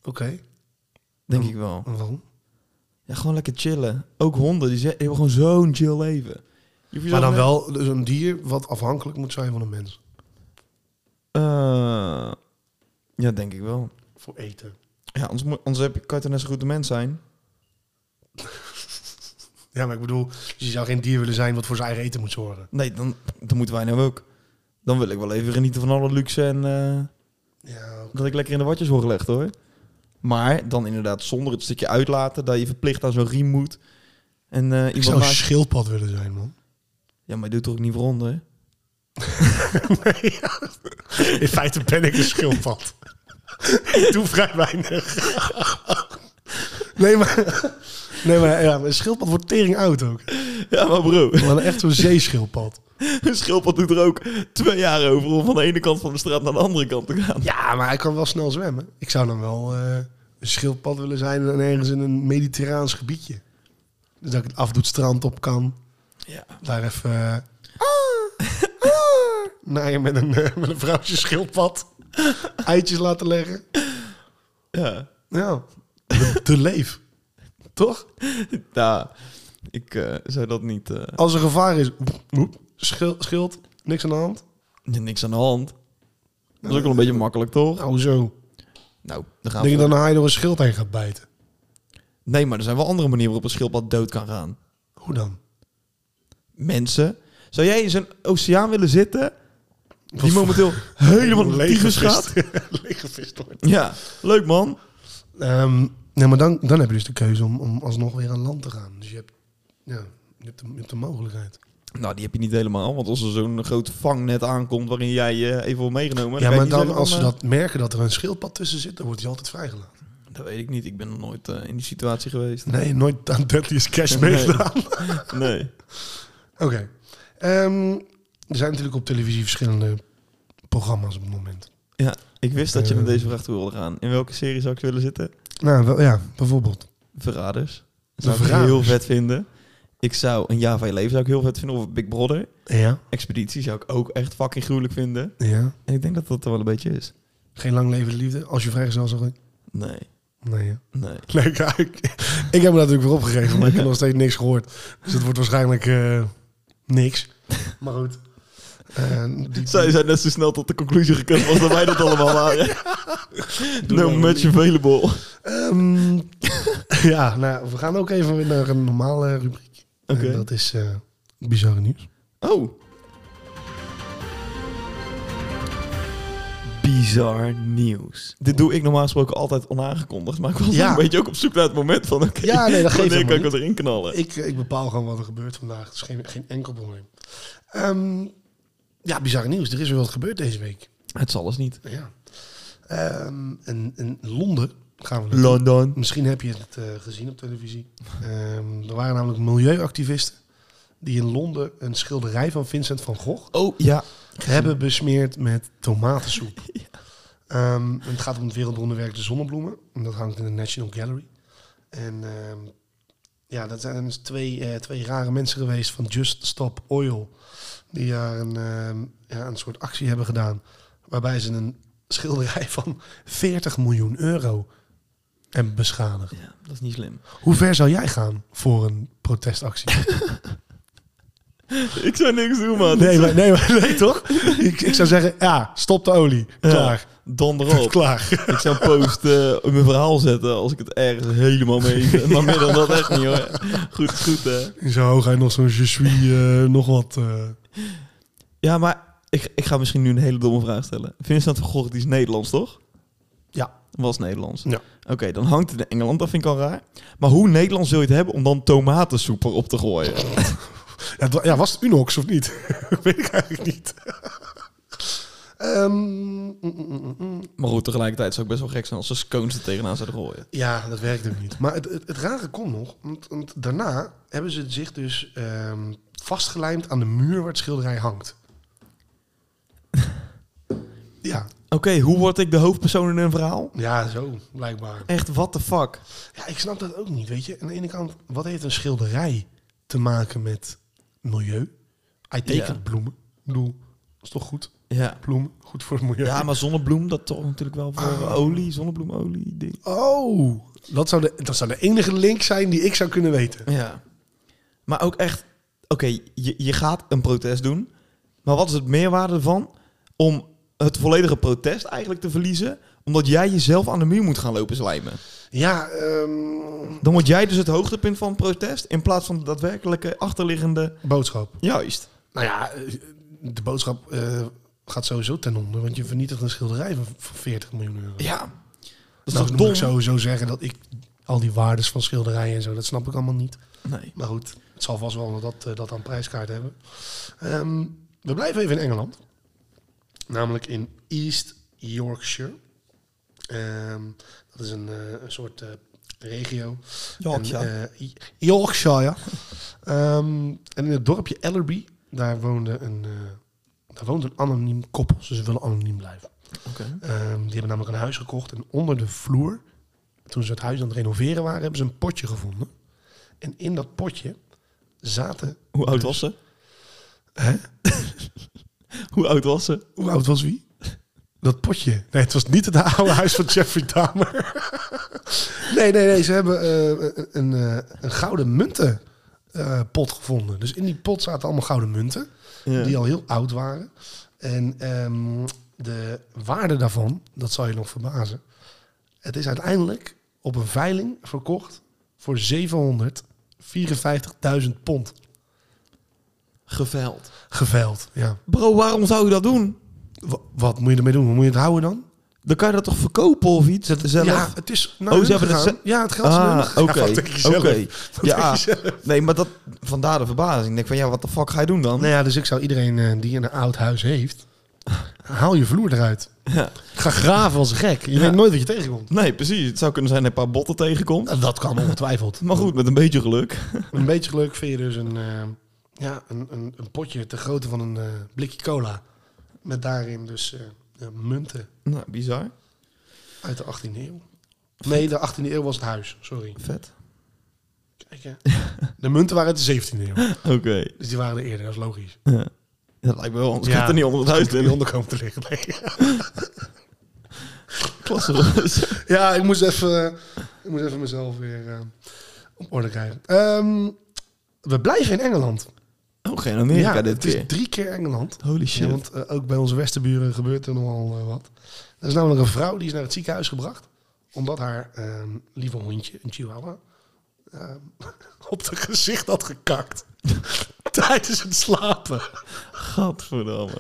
Oké.
Denk ik wel.
En waarom?
Ja, gewoon lekker chillen. Ook honden, die ze- die hebben gewoon zo'n chill leven. Je hoeft jezelf
Maar dan
net-
wel dus een dier wat afhankelijk moet zijn van een mens.
Eh, ja, denk ik wel.
Voor eten.
Ja, anders, moet- anders heb, je- kan je toch net zo goed een mens zijn.
Ja, maar ik bedoel, dus je zou geen dier willen zijn wat voor zijn eigen eten moet zorgen.
Nee, dan, dan moeten wij nou ook. Dan wil ik wel even genieten van alle luxe en eh,
Ja, oké.
dat ik lekker in de watjes word gelegd hoor. Maar dan inderdaad zonder het stukje uitlaten dat je verplicht aan zo'n riem moet. En eh,
ik
iemand
zou een
naast-
schildpad willen zijn, man.
Ja, maar je doet er ook niet voor onder.
Ja. In feite ben ik een schildpad. ik doe vrij weinig. nee, maar, nee, maar ja, maar een schildpad wordt tering oud ook.
Ja, maar bro,
Maar een echt zo'n zeeschildpad.
een schildpad doet er ook twee jaar over om van de ene kant van de straat naar de andere kant te gaan.
Ja, maar hij kan wel snel zwemmen. Ik zou dan wel eh, een schildpad willen zijn en ergens in een mediterraans gebiedje. Dus dat ik af en toe het strand op kan.
Ja.
Daar even... eh,
Ah,
naaien met een, eh, met een vrouwtje schildpad. Eitjes laten leggen.
Ja.
Ja, de, de leef. Toch?
Ja, ik eh, zou dat niet... eh,
Als er gevaar is, oep, oep, schil- schild, niks aan de hand.
Er is niks aan de hand. Dat is ook wel een beetje makkelijk, toch?
Nou zo.
Nou, dan gaan
Denk
we.
je dan een haai door een schild heen gaat bijten?
Nee, maar er zijn wel andere manieren waarop een schildpad dood kan gaan.
Hoe dan?
Mensen. Zou jij in zo'n oceaan willen zitten? Die
Wat
momenteel helemaal tyfus gaat?
Lege vis wordt.
Ja, leuk man.
Ehm, nee, maar dan, dan heb je dus de keuze om, om alsnog weer aan land te gaan. Dus je hebt, ja, je hebt, de, je hebt de mogelijkheid.
Nou, die heb je niet helemaal. Want als er zo'n groot vangnet aankomt waarin jij je even wordt
Ja,
meegenomen... kan je
maar
niet
dan
zeggen
als ze
van,
dat merken dat er een schildpad tussen zit, dan wordt hij altijd vrijgelaten.
eh, Dat weet ik niet. Ik ben nog nooit eh, in die situatie geweest.
Nee, nooit aan Deadliest Cash meegedaan.
Nee.
Oké. Ehm, er zijn natuurlijk op televisie verschillende programma's op het moment.
Ja, ik wist dat je met
Eh.
deze vraag toe wilde gaan. In welke serie zou ik willen zitten?
Nou, wel- ja, bijvoorbeeld.
Verraders.
De
zou ik
Verraders.
heel vet vinden. Ik zou een jaar van je leven zou ik heel vet vinden. Of Big Brother.
Ja.
Expeditie zou ik ook echt fucking gruwelijk vinden.
ja.
En ik denk dat dat er wel een beetje is.
Geen lang leven de liefde. Als je vrijgezel zou zijn.
Nee,
Nee, ja.
nee.
Leuk, ja, ik, ik heb me natuurlijk weer opgegeven, maar ik heb nog steeds niks gehoord. Dus het wordt waarschijnlijk eh, niks. Maar goed. Eh, die-
Zij zijn net zo snel tot de conclusie gekomen als dat wij dat allemaal waren.
maar
no match available.
Ehm, ja, nou, we gaan ook even weer naar een normale rubriek.
Oké.
En dat is eh, bizarre nieuws.
Oh. Bizar nieuws. Dit doe ik normaal gesproken altijd onaangekondigd, maar ik was
Ja.
een beetje ook op zoek naar het moment van, oké,
Ja, nee, dat geeft
wanneer kan ik
helemaal
het erin knallen?
Ik, eh, ik bepaal gewoon wat er gebeurt vandaag. Het is geen, geen enkel probleem. Ehm, ja, bizarre nieuws. Er is weer wat gebeurd deze week.
Het zal dus niet.
Ja. Ehm, en, in Londen gaan we naartoe.
London.
Misschien heb je het eh, gezien op televisie. Ehm, er waren namelijk milieuactivisten die in Londen een schilderij van Vincent van Gogh
Oh, ja.
hebben besmeerd met tomatensoep. Ehm, en het gaat om het wereldwonderwerk De Zonnebloemen. En dat hangt in de National Gallery. En ehm, ja, dat zijn dus twee, eh, twee rare mensen geweest van Just Stop Oil. Die daar een, ehm, ja, een soort actie hebben gedaan. Waarbij ze een schilderij van 40 miljoen euro hebben beschadigd.
Ja, dat is niet slim.
Hoe ver zou jij gaan voor een protestactie?
Ik zou niks doen, man.
Nee, maar, nee, maar, nee toch? Ik, ik zou zeggen, ja, stop de olie. Klaar.
Donder op.
Klaar.
Ik zou post eh, op mijn verhaal zetten als ik het ergens helemaal mee ben. Maar meer dan dat echt niet hoor. Goed, is goed hè.
In zijn hoogheid nog zo'n je suis, eh, nog wat. eh.
Ja, maar ik, ik ga misschien nu een hele domme vraag stellen. Vincent van Gogh, die is Nederlands toch?
Ja.
Was Nederlands.
Ja.
Oké, dan hangt het in Engeland, dat vind ik al raar. Maar hoe Nederlands wil je het hebben om dan tomatensoep erop te gooien?
Ja, het wa- ja, was het Unox of niet? Weet ik eigenlijk niet. Ehm, mm, mm, mm, mm.
Maar goed, tegelijkertijd zou ik best wel gek zijn als ze scones er tegenaan zouden gooien.
Ja, dat werkt ook niet. Maar het, het, het rare komt nog. Want, want daarna hebben ze zich dus ehm, vastgelijmd aan de muur waar het schilderij hangt. Ja,
Oké, hoe word ik de hoofdpersoon in een verhaal?
ja, zo blijkbaar.
Echt, what the fuck?
Ja, ik snap dat ook niet, weet je. Aan de ene kant, wat heeft een schilderij te maken met milieu? Hij tekent
Ja.
bloemen. Ik bedoel, dat is toch goed?
Ja.
Bloemen, goed voor het milieu.
Ja, maar zonnebloem, dat toch natuurlijk wel voor eh, olie, zonnebloemolie. Ding.
Oh, dat zou, de, dat zou de enige link zijn die ik zou kunnen weten.
Ja. Maar ook echt, oké, je, je gaat een protest doen, maar wat is het meerwaarde ervan om het volledige protest eigenlijk te verliezen, omdat jij jezelf aan de muur moet gaan lopen slijmen?
Ja, ehm,
Dan word jij dus het hoogtepunt van het protest in plaats van de daadwerkelijke achterliggende.
boodschap.
Juist.
Nou ja, eh, de boodschap eh, gaat sowieso ten onder, want je vernietigt een schilderij van, van 40 miljoen euro.
Ja. Dat is
nou, dan
toch dom?
moet ik sowieso zeggen dat ik al die waardes van schilderijen en zo, dat snap ik allemaal niet.
Nee.
Maar goed, het zal vast wel dat, eh, dat aan prijskaart hebben. Ehm, we blijven even in Engeland. Namelijk in East Yorkshire. Ehm, dat is een, eh, een soort eh, regio.
Yorkshire.
En, eh, I- Yorkshire. Ehm, en in het dorpje Ellerby, daar woonde een, eh, daar woont een anoniem koppel. Dus ze willen anoniem blijven.
Oké.
Ehm, die hebben namelijk een huis gekocht en onder de vloer, toen ze het huis aan het renoveren waren, hebben ze een potje gevonden. En in dat potje zaten.
Hoe oud
dus-
was ze? Hoe oud was ze?
Hoe oud was wie? Dat potje. Nee, het was niet het oude huis van Jeffrey Dahmer. nee, nee, nee. Ze hebben eh, een, een, eh, een gouden munten. eh, pot gevonden. Dus in die pot zaten allemaal gouden munten.
Ja.
die al heel oud waren. En ehm, de waarde daarvan, dat zal je nog verbazen. Het is uiteindelijk op een veiling verkocht voor 754.000 pond
Geveld.
geveild. Ja.
Bro, waarom zou je dat doen?
Wa- wat moet je ermee doen? Moet je het houden dan?
Dan kan je dat toch verkopen of iets? Zelf?
Ja, het is naar
Oh,
hun
ze hebben het
gegaan. Ja, het geld is naar hun
Ah,
gegaan. Ja,
oké.
wat denk je zelf?
Oké.
Wat
Ja,
denk je zelf?
nee, maar dat vandaar de verbazing. Ik denk van ja, wat de fuck ga je doen dan?
Nou ja, dus ik zou iedereen eh, die een oud huis heeft, haal je vloer eruit.
Ja.
Ga graven als gek. Je
Ja.
weet nooit wat je tegenkomt.
Nee, precies. Het zou kunnen zijn dat je een paar botten tegenkomt.
Dat kan ongetwijfeld.
Maar goed, met een beetje geluk.
Een beetje geluk vind je dus een, eh, ja, een, een, een potje te grootte van een eh, blikje cola. Met daarin dus eh, ja, munten
Nou, bizar.
uit de 18e eeuw. Nee, de 18e eeuw was het huis, sorry.
Vet.
Kijken. De munten waren uit de 17e eeuw.
Oké.
Dus die waren er eerder, dat is logisch.
Dat lijkt me wel, anders
Ja.
gaat er niet onder het huis
Die
in.
onder komen te liggen. Nee.
Klasse.
Ja, ik moest even, ik moest even mezelf weer eh, op orde krijgen. Ehm, we blijven in Engeland.
Oh, geen Amerika
ja,
dit
het is
keer.
drie keer Engeland.
Holy
Ja,
shit.
want eh, ook bij onze westerburen gebeurt er nogal eh, wat. Er is namelijk een vrouw die is naar het ziekenhuis gebracht. Omdat haar ehm, lieve hondje, een chihuahua, ehm, op het gezicht had gekakt. Tijdens het slapen.
Gadverdamme.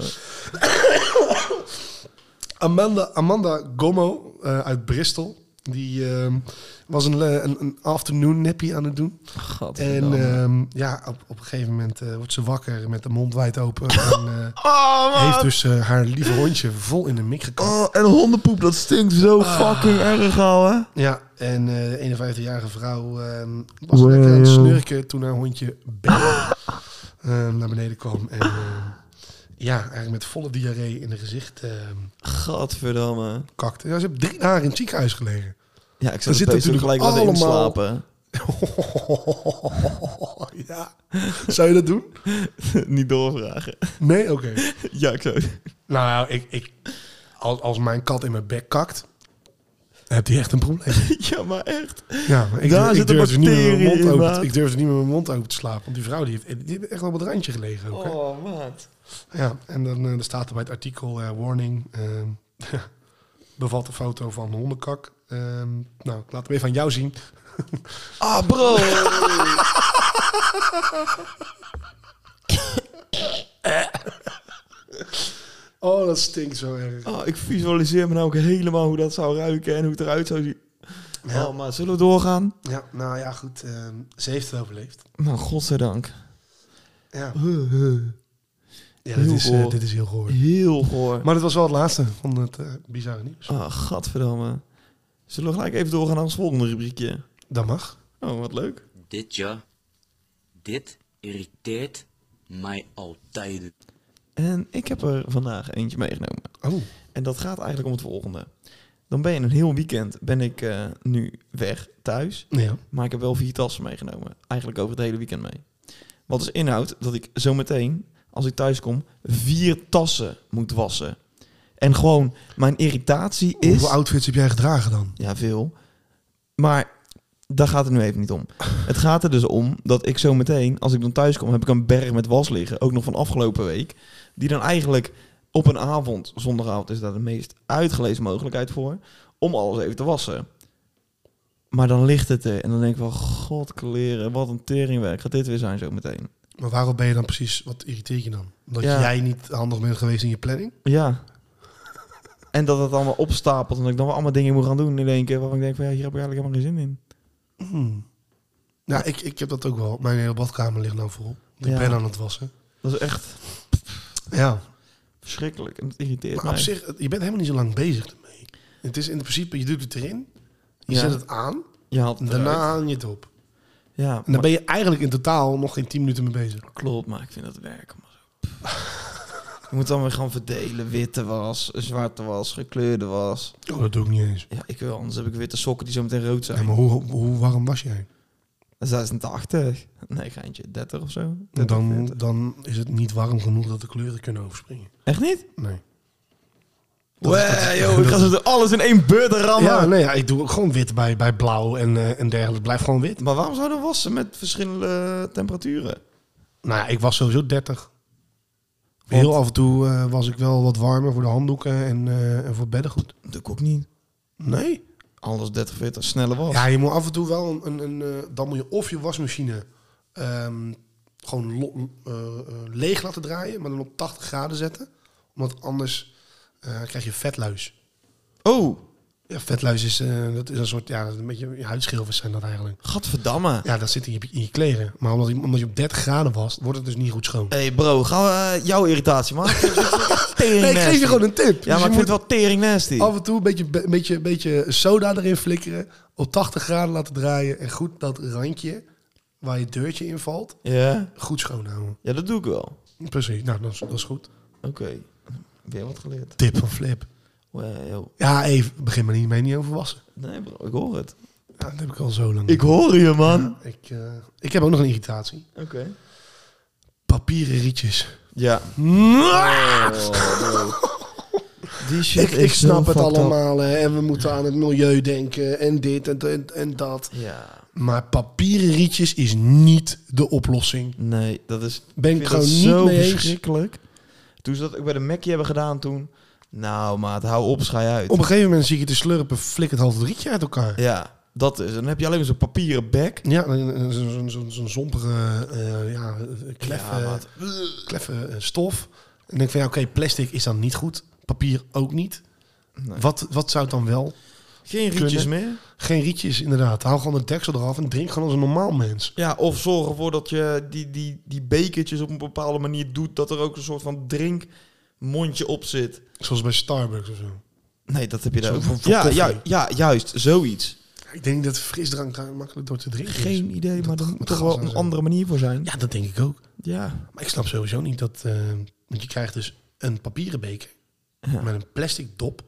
Amanda, Amanda Gommo eh, uit Bristol. Die ehm, was een, le- een, een afternoon nappy aan het doen. En
Gadverdamme.
ehm, ja, op, op een gegeven moment eh, wordt ze wakker met de mond wijd open. En eh,
oh, man.
heeft dus eh, haar lieve hondje vol in de mik gekakt.
Oh, en hondenpoep, dat stinkt zo fucking erg, ouwe.
Ja, en eh, de 51-jarige vrouw ehm, was lekker aan het snurken toen haar hondje Bella ehm, naar beneden kwam. En ehm, ja, eigenlijk met volle diarree in haar gezicht ehm,
Gadverdamme.
kakte. Ja, ze heeft drie dagen in het ziekenhuis gelegen.
Ja, ik
Er
zou
zit
het pees ook
natuurlijk
gelijk laten
allemaal-
inslapen.
ja, zou je dat doen?
Niet doorvragen.
Nee? Oké.
Ja, ik zou...
Nou, ik, ik, als, als mijn kat in mijn bek kakt, heb die echt een probleem.
Ja, maar echt.
Ja, maar ik,
Daar
durf- ik
zit een
durfde niet met mijn
bacterie
mond
in,
open.
maat.
ik durfde niet met mijn mond open te slapen. Want die vrouw die heeft, die heeft echt wel op het randje gelegen. Ook, hè.
Oh, maat.
Ja, en dan eh, er staat er bij het artikel eh, warning. ehm, bevat een foto van hondenkak. Ehm, nou, ik laat hem even aan jou zien.
Ah, bro.
Oh, dat stinkt zo erg.
Ah, ik visualiseer me nou ook helemaal hoe dat zou ruiken en hoe het eruit zou zien.
Ja.
Oh, maar zullen we doorgaan?
Ja, nou ja, goed. ehm, ze heeft het overleefd.
Nou, godzijdank.
Ja,
Huh, huh.
ja
Heel
dit, is, eh,
goor.
dit is heel goor.
Heel goor.
Maar dat was wel het laatste van het eh, bizarre nieuws.
Ah, gadverdamme. Zullen we gelijk even doorgaan naar ons volgende rubriekje?
Dat mag.
Oh, wat leuk.
Dit ja, dit irriteert mij altijd.
En ik heb er vandaag eentje meegenomen.
Oh,
En dat gaat eigenlijk om het volgende. Dan ben je een heel weekend, ben ik eh, nu weg thuis.
ja.
Maar ik heb wel vier tassen meegenomen. Eigenlijk over het hele weekend mee. Wat dus inhoudt dat ik zometeen, als ik thuis kom, vier tassen moet wassen. En gewoon, mijn irritatie is...
Hoeveel outfits heb jij gedragen dan?
Ja, veel. Maar daar gaat het nu even niet om. Het gaat er dus om dat ik zo meteen, als ik dan thuis kom, heb ik een berg met was liggen. Ook nog van afgelopen week. Die dan eigenlijk op een avond, zondagavond is daar de meest uitgelezen mogelijkheid voor, om alles even te wassen. Maar dan ligt het er en dan denk ik van, god kleren, wat een teringwerk. Gaat dit weer zijn zo meteen?
Maar waarom ben je dan precies, wat irriteert je dan? Omdat
Ja.
jij niet handig bent geweest in je planning?
Ja. En dat het allemaal opstapelt en dat ik dan wel allemaal dingen moet gaan doen in één keer. Waarvan ik denk van, ja, hier heb ik eigenlijk helemaal geen zin in.
Nou, ik, ik heb dat ook wel. Mijn hele badkamer ligt nou vol. Want Ik
Ja.
ben aan het wassen.
Dat is echt
Ja,
verschrikkelijk en dat irriteert
maar
mij.
op zich, je bent helemaal niet zo lang bezig ermee. Het is in principe, je doet het erin, je
Ja.
zet het aan,
Je haalt
en
het
daarna
eruit.
hang je het op.
Ja,
En
maar-
dan ben je eigenlijk in totaal nog geen 10 minuten mee bezig.
klopt, maar ik vind dat werken. Maar zo. Pff. Je moet dan weer gaan verdelen. Witte was, zwarte was, gekleurde was.
Oh, dat doe ik niet eens.
Ja, ik wil. Anders heb ik witte sokken die zo meteen rood
Ja,
zijn.
maar hoe, hoe warm was jij?
Dat is 86. Nee, geintje. 30 of zo. 30,
Dan,
40.
dan is het niet warm genoeg dat de kleuren kunnen overspringen.
Echt niet?
Nee. Dat is- dat
Wee,
is-
joh. Ik ga zo alles in één beurt rammen.
Ja, nee, ja, ik doe ook gewoon wit bij, bij blauw en, eh, en dergelijke. Blijf gewoon wit.
Maar waarom zouden we wassen met verschillende temperaturen?
Nou, ja, ik was sowieso 30. Heel af en toe eh, was ik wel wat warmer voor de handdoeken en, eh, en voor beddengoed.
Dat doe ik ook niet.
Nee.
Alles 30, 40, snelle was.
Ja, je moet af en toe wel een... een, een eh, dan moet je of je wasmachine ehm, gewoon lo- eh, eh, leeg laten draaien, maar dan op 80 graden zetten. Omdat anders eh, krijg je vetluis.
Oh,
Ja, vetluis is, eh, dat is een soort... Ja, dat is een beetje je huidschilfers zijn dat eigenlijk.
gadverdamme.
Ja, dat zit in je, in je kleren. Maar omdat je, omdat je op 30 graden was, wordt het dus niet goed schoon.
hey bro, gaan we eh, jouw irritatie maken? Tering
Nee, ik geef
nasty.
je gewoon een tip.
Ja, maar ik vind het wel tering nasty.
Af en toe een beetje, be- beetje, beetje soda erin flikkeren. Op 80 graden laten draaien. En goed dat randje waar je deurtje in valt,
Ja?
goed schoonhouden.
ja, dat doe ik wel.
Precies, nou, dat is, dat is goed.
Oké. Weer wat geleerd.
Tip van Flip.
Wow.
Ja, even, begin maar niet mee niet over wassen.
Nee bro, ik hoor het.
Ja, dat heb ik al zo lang.
Ik hoor je, man.
Ik, eh, ik heb ook nog een irritatie.
Oké.
Papieren rietjes.
Ja. Oh, no. Die shit
Ik,
is
ik
zo
snap het
fucked up.
allemaal. hè, En we moeten aan het milieu denken. En dit en, en, en dat.
Ja.
Maar papieren rietjes is niet de oplossing.
Nee, dat is...
Ben ik
vind
gewoon
dat
niet
zo
mee eens.
verschrikkelijk. Toen ze dat ook bij de Mackie hebben gedaan toen... Nou, maat, hou op, schei uit.
Op een gegeven moment zie ik je te slurpen. Flikkert half het rietje uit elkaar.
Ja, dat is. Dan heb je alleen maar zo'n papieren bek.
Ja, een- een- zo'n zo'n zo'n zompige, eh, ja, kleffe,
Ja, maat.
kleffe eh, stof. En dan denk ik van, ja, oké, plastic is dan niet goed. Papier ook niet.
Nee.
Wat, wat zou het dan wel?
Geen rietjes meer.
Geen rietjes, inderdaad. Haal gewoon de deksel eraf en drink gewoon als een normaal mens.
Ja, of zorg ervoor dat je die, die, die bekertjes op een bepaalde manier doet. Dat er ook een soort van drinkmondje op zit.
Zoals bij Starbucks of zo.
Nee, dat heb je daar
Zo
ook.
voor- voor
ja,
koffie.
ja, ja, juist. Zoiets.
Ik denk niet dat frisdrank daar makkelijk door te drinken is.
Geen idee, maar er moet toch wel
gas en
een
zo.
andere manier voor zijn.
Ja, dat denk ik ook.
Ja.
Maar ik snap sowieso niet dat... eh, want je krijgt dus een papieren beker
Ja.
met een plastic dop.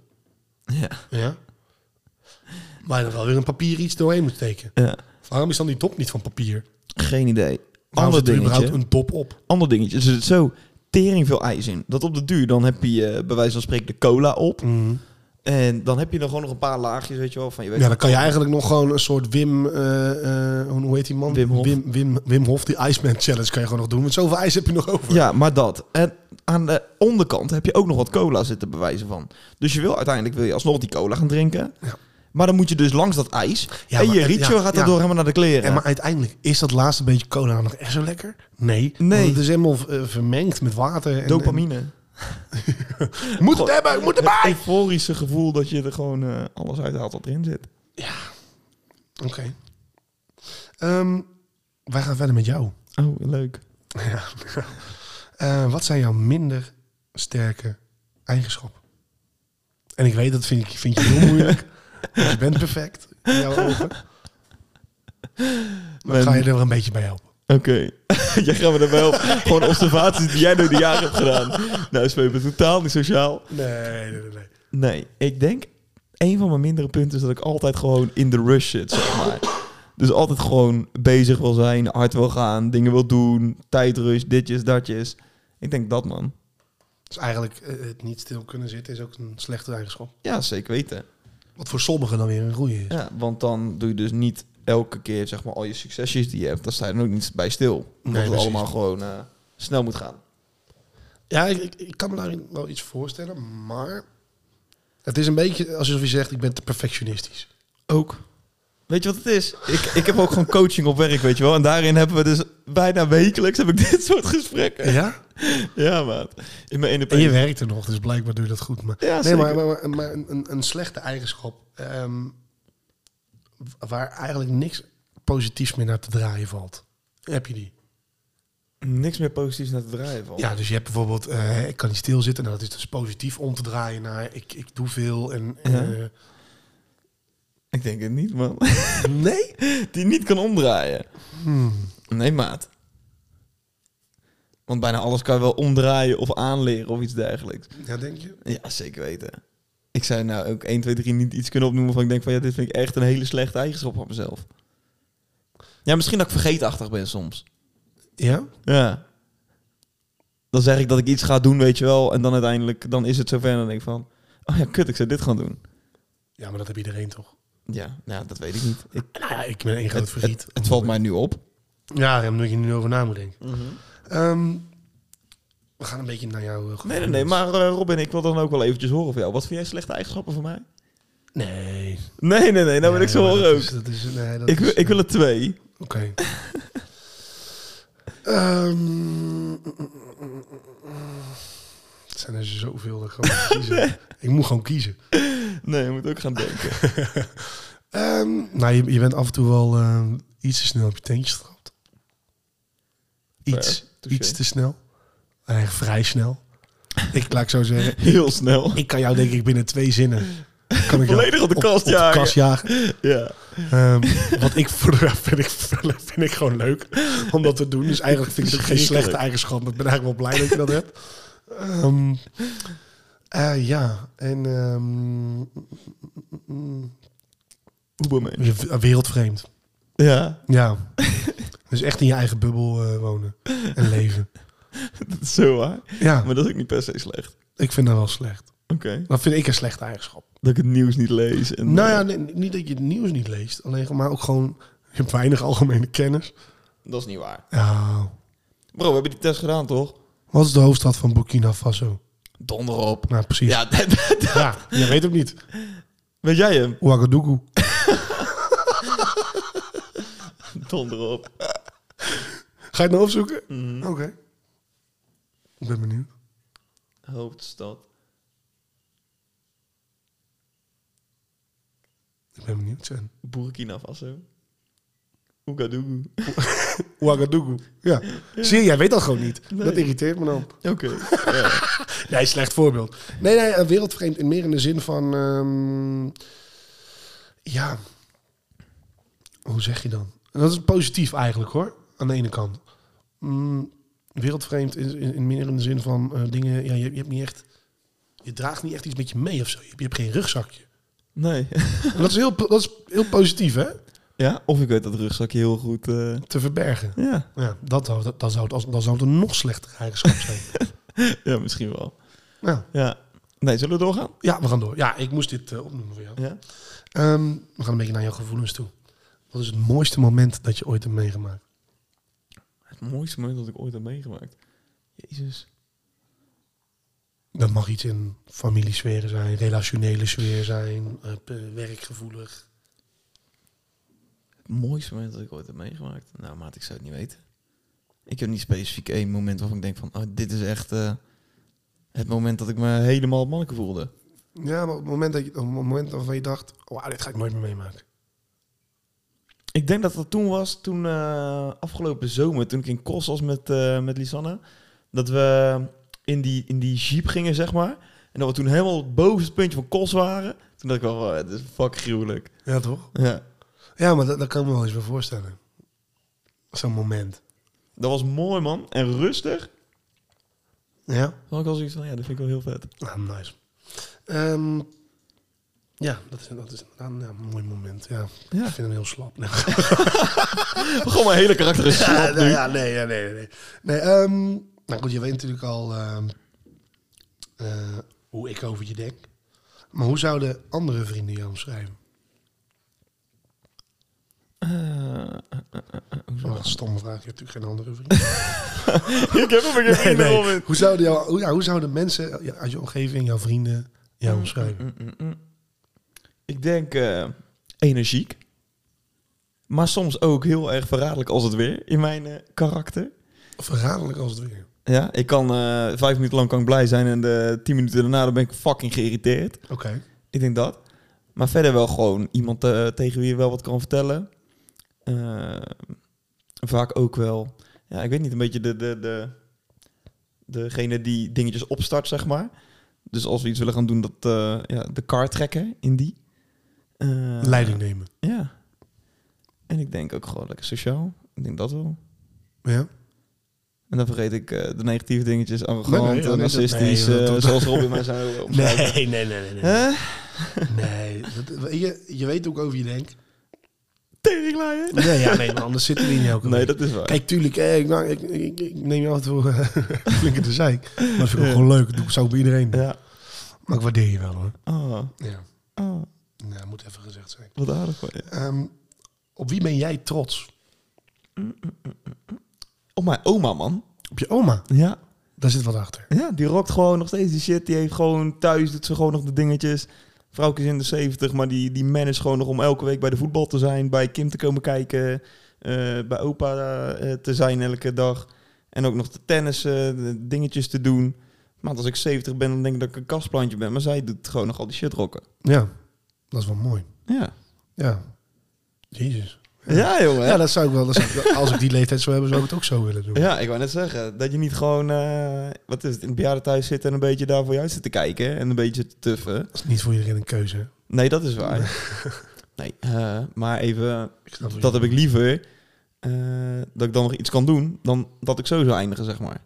Ja.
Ja. Waar je dan wel weer een papier iets doorheen moet steken.
ja.
Waarom is dan die dop niet van papier?
Geen idee.
Waarom
Ander
zit er überhaupt
dingetje.
een dop op?
Ander dingetje. Er zit zo tering veel ijs in. Dat op de duur, dan heb je eh, bij wijze van spreken de cola op. En dan heb je er gewoon nog een paar laagjes, weet je wel. Van je weet
Ja, dan kan je eigenlijk nog gewoon een soort Wim... eh, eh, hoe hoe heet die man?
Wim Hof.
Wim, Wim, Wim Hof, die Iceman Challenge kan je gewoon nog doen. Want zoveel ijs heb je nog over.
Ja, maar dat. En aan de onderkant heb je ook nog wat cola zitten bewijzen van. Dus je wil uiteindelijk wil je alsnog die cola gaan drinken.
Ja.
Maar dan moet je dus langs dat ijs.
Ja,
en
maar-
je rietje
ja, ja.
gaat daardoor helemaal naar de kleren.
En maar uiteindelijk, is dat laatste beetje cola nog echt zo lekker? Nee.
Nee.
Want het is helemaal eh, vermengd met water. En,
Dopamine.
en- moet het hebben, moet
Het
erbij!
euforische gevoel dat je er gewoon eh, alles uithaalt wat erin zit.
Oké. Ehm, wij gaan verder met jou.
Oh, leuk.
Ja. Eh, wat zijn jouw minder sterke eigenschappen? En ik weet, dat vind, ik, vind je heel moeilijk. want je bent perfect in jouw ogen. Maar ik
Mijn-
ga je er wel een beetje bij helpen.
Oké. jij gaat me dan wel gewoon observaties die jij door de jaren hebt gedaan. Nou, is me totaal niet sociaal.
Nee, nee, nee. nee.
Nee, ik denk een van mijn mindere punten is dat ik altijd gewoon in de rush zit, zeg maar. Dus altijd gewoon bezig wil zijn, hard wil gaan, dingen wil doen, tijdrush, ditjes, datjes. Ik denk dat, man.
Dus eigenlijk eh, het niet stil kunnen zitten is ook een slechte eigenschap.
Ja, zeker weten.
Wat voor sommigen dan weer een goede is.
Ja, want dan doe je dus niet elke keer, zeg maar, al je succesjes die je hebt. Dan sta je er ook niet bij stil. Omdat
Nee,
het
precies.
allemaal gewoon eh, snel moet gaan.
Ja, ik, ik, ik kan me daar wel iets voorstellen, maar... Het is een beetje alsof je zegt, ik ben te perfectionistisch.
Ook. Weet je wat het is? Ik, ik heb ook gewoon coaching op werk, weet je wel. En daarin hebben we dus bijna wekelijks heb ik dit soort gesprekken.
Ja?
Ja, maat. In mijn ene
En je werkt er nog, dus blijkbaar doe je dat goed. Maar,
Ja,
nee,
zeker.
maar, maar, maar- maar een, een- een slechte eigenschap ehm, w- waar eigenlijk niks positiefs meer naar te draaien valt. Heb je die?
niks meer positiefs naar te draaien van.
Ja, dus je hebt bijvoorbeeld, eh, ik kan niet stilzitten. Nou, dat is dus positief om te draaien naar ik, ik doe veel. En, eh,
Ik denk het niet, man.
nee?
Die niet kan omdraaien. Hmm. Nee, maat. Want bijna alles kan je wel omdraaien of aanleren of iets dergelijks.
Ja, denk je?
Ja, zeker weten. Ik zou nou ook 1, 2, 3 niet iets kunnen opnoemen van ik denk van ja, dit vind ik echt een hele slechte eigenschap van mezelf. Ja, misschien dat ik vergeetachtig ben soms.
Ja?
Ja. Dan zeg ik dat ik iets ga doen, weet je wel. En dan uiteindelijk, dan is het zover en dan denk ik van... Oh ja, kut, ik zou dit gaan doen.
Ja, maar dat heb iedereen toch?
Ja, nou, dat weet ik niet. Ik,
Nou ja, ik ben één groot
het,
verdriet.
het, het valt mij nu op.
Ja, omdat je nu over na moet denken.
Mhm.
Ehm, we gaan een beetje naar jou.
Nee, nee, nee. Maar eh, Robin, ik wil dan ook wel eventjes horen van jou. Wat vind jij slechte eigenschappen van mij?
Nee.
Nee, nee, nee. Nou wil
Nee,
ik ze
maar
horen
dat
ook.
is- dat is, nee, dat
ik, wil-
is-
ik wil er twee.
Oké. Ehm, het zijn er zoveel dat ik gewoon moet kiezen. Ik moet gewoon kiezen.
Nee, je moet ook gaan denken.
Ehm, nou, je, je bent af en toe wel ehm, iets te snel op je teentjes getrapt. Iets,
Fair, touché.
iets te snel. Eh, vrij snel. Ik laat ik zo zeggen.
Heel snel.
Ik kan jou denk ik binnen twee zinnen. Kan ik jou
Volledig op de kast
op de
jagen.
kast jagen.
Ja.
Ehm, wat ik voor de rest vind ik, vind ik gewoon leuk om dat te doen. Dus eigenlijk vind ik het geen slechte eigenschap. Maar ik ben eigenlijk wel blij dat je dat hebt. Ehm, eh, ja, en ehm, mm, mm, mm,
Ubermensch.
Dus een Wereldvreemd.
Ja,
Ja. dus echt in je eigen bubbel eh, wonen en leven.
dat is zo waar.
Ja,
Maar dat is ook niet per se slecht.
ik vind dat wel slecht.
Oké.
Dat vind ik een slechte eigenschap.
Dat ik het nieuws niet lees. En,
Nou ja,
eh,
nee, niet dat je het nieuws niet leest, alleen maar ook gewoon. Je hebt weinig algemene kennis.
eh, dat is niet waar.
Ja.
Bro, we hebben die test gedaan, toch?
Wat is de hoofdstad van Burkina Faso?
Donder op.
Nou, precies. Ja,
Ja, dat- dat- dat-
je weet het niet.
weet jij hem?
Ouagadougou.
Donder op.
Ga je het nou opzoeken? Oké. Ik ben benieuwd.
Hoofdstad.
Ik ben benieuwd, Sven.
Burkina Faso. Ouagadougou.
Ouagadougou. Ja. Zie je, jij weet dat gewoon niet.
Nee.
Dat irriteert me dan.
Oké. ja.
Nee, slecht voorbeeld. Nee, nee, een wereldvreemd in meer in de zin van... ehm, ja. Hoe zeg je dan? Dat is positief eigenlijk, hoor. Aan de ene kant. Mm, wereldvreemd in, in, in meer in de zin van eh, dingen... Ja, je, je hebt niet echt... Je draagt niet echt iets met je mee of zo. Je hebt, je hebt geen rugzakje.
Nee.
En dat is heel, po- dat is heel positief, hè?
Ja, of ik weet dat rugzakje heel goed... eh,
Te verbergen.
ja.
Ja, dat zou, dat, dat zou, het als- dat zou het een nog slechtere eigenschap zijn.
ja, misschien wel.
nou,
Ja. Nee, zullen we doorgaan?
ja, we gaan door. Ja, ik moest dit eh, opnoemen voor jou.
Ja.
Ehm, we gaan een beetje naar jouw gevoelens toe. Wat is het mooiste moment dat je ooit hebt meegemaakt?
Het mooiste moment dat ik ooit heb meegemaakt. Jezus.
Dat mag iets in familiesferen zijn, relationele sfeer zijn, eh, p- werkgevoelig.
Het mooiste moment dat ik ooit heb meegemaakt? Nou, maat, ik zou het niet weten. Ik heb niet specifiek één moment waarvan ik denk van... Oh, dit is echt eh, het moment dat ik me helemaal mannelijk voelde.
Ja, maar op het moment, dat je, op het moment waarvan je dacht, wauw, dit ga ik nooit meer meemaken.
Ik denk dat dat toen was, toen eh, afgelopen zomer, toen ik in Kos was met, eh, met Lisanne, dat we in die, in die jeep gingen, zeg maar. En dat we toen helemaal boven het puntje van Kos waren. Toen dacht ik wel, oh, het is fuck gruwelijk.
Ja, toch?
Ja.
Ja, maar dat, dat kan ik me wel eens weer voorstellen. Zo'n moment.
Dat was mooi, man. En rustig.
Ja?
Dan had ik wel zoiets van, ja, dat vind ik wel heel vet.
Ah, nice. Ehm, ja, dat is, dat is inderdaad een ja, mooi moment. Ja,
Ja.
Ik vind hem heel slap. Nee.
Gewoon mijn hele karakter is slap
Ja, nou
nu.
ja, nee, ja, nee, nee, nee. nee ehm, nou goed, je weet natuurlijk al ehm, eh, hoe ik over je denk. Maar hoe zouden andere vrienden jou omschrijven?
Eh, eh, eh, eh, hoezo?
Wat een stomme vraag. Je hebt natuurlijk geen andere vrienden.
ik heb hem een
Nee,
keer
nee.
in.
Hoe, zouden jou, hoe, ja, hoe zouden mensen ja, uit je omgeving, jouw vrienden, jou omschrijven?
Mm, mm, mm. Ik denk eh, energiek. Maar soms ook heel erg verraderlijk als het weer in mijn eh, karakter.
Verraderlijk als het weer.
Ja, ik kan eh, vijf minuten lang kan ik blij zijn en de tien minuten daarna dan ben ik fucking geïrriteerd.
Oké.
Ik denk dat. Maar verder wel gewoon iemand eh, tegen wie je wel wat kan vertellen. Eh, vaak ook wel, ja, ik weet niet, een beetje de, de, de, degene die dingetjes opstart, zeg maar. Dus als we iets willen gaan doen, dat eh, ja, de kar trekken in die. Eh,
Leiding nemen.
Ja. En ik denk ook gewoon lekker sociaal. Ik denk dat wel.
Ja?
En dan vergeet ik eh, de negatieve dingetjes, arrogant,
nee, dat-
narcistisch,
nee,
eh,
dat-
zoals Robin mij zou omschrijven.
nee, nee, nee.
Hè?
Nee, dat- je, je weet ook over je denk.
Teringlaaier?
Nee, ja, nee, maar anders zitten we in jouw
Nee, dat is waar.
Kijk, tuurlijk, eh, ik, nou, ik, ik, ik neem je af en toe eh, flink in de zeik. Maar dat vind ik ook gewoon leuk. Dat doe ik zo bij iedereen.
Ja.
Maar ik waardeer je wel, hoor.
Oh,
Ja,
oh
ja moet even gezegd zijn.
wat aardig van je.
Ehm, op wie ben jij trots?
Op Oh, mijn oma, man.
Op je oma.
Ja.
Daar zit wat achter.
Ja, die rockt gewoon nog steeds die shit. Die heeft gewoon thuis, doet ze gewoon nog de dingetjes. Vrouwke is in de 70, maar die, die manage gewoon nog om elke week bij de voetbal te zijn. Bij Kim te komen kijken. eh, bij opa eh, te zijn elke dag. En ook nog te tennissen, de dingetjes te doen. Maar als ik 70 ben, dan denk ik dat ik een kastplantje ben. Maar zij doet gewoon nog al die shit rocken.
Ja, dat is wel mooi.
Ja.
Ja. Jezus.
Ja, jongen.
Ja, dat zou ik wel. Dat zou ik- als ik die leeftijd zou hebben, zou ik het ook zo willen doen.
Ja, ik wou net zeggen. Dat je niet gewoon, eh, wat is het, in het bejaardentehuis zit en een beetje daar voor je uit zit te kijken. En een beetje te tuffen.
Dat is niet voor iedereen een keuze. hè?
Nee, dat is waar. Nee, eh, maar even,
Ik snap het
dat
niet.
heb ik liever. eh, dat ik dan nog iets kan doen, dan dat ik zo zou eindigen, zeg maar.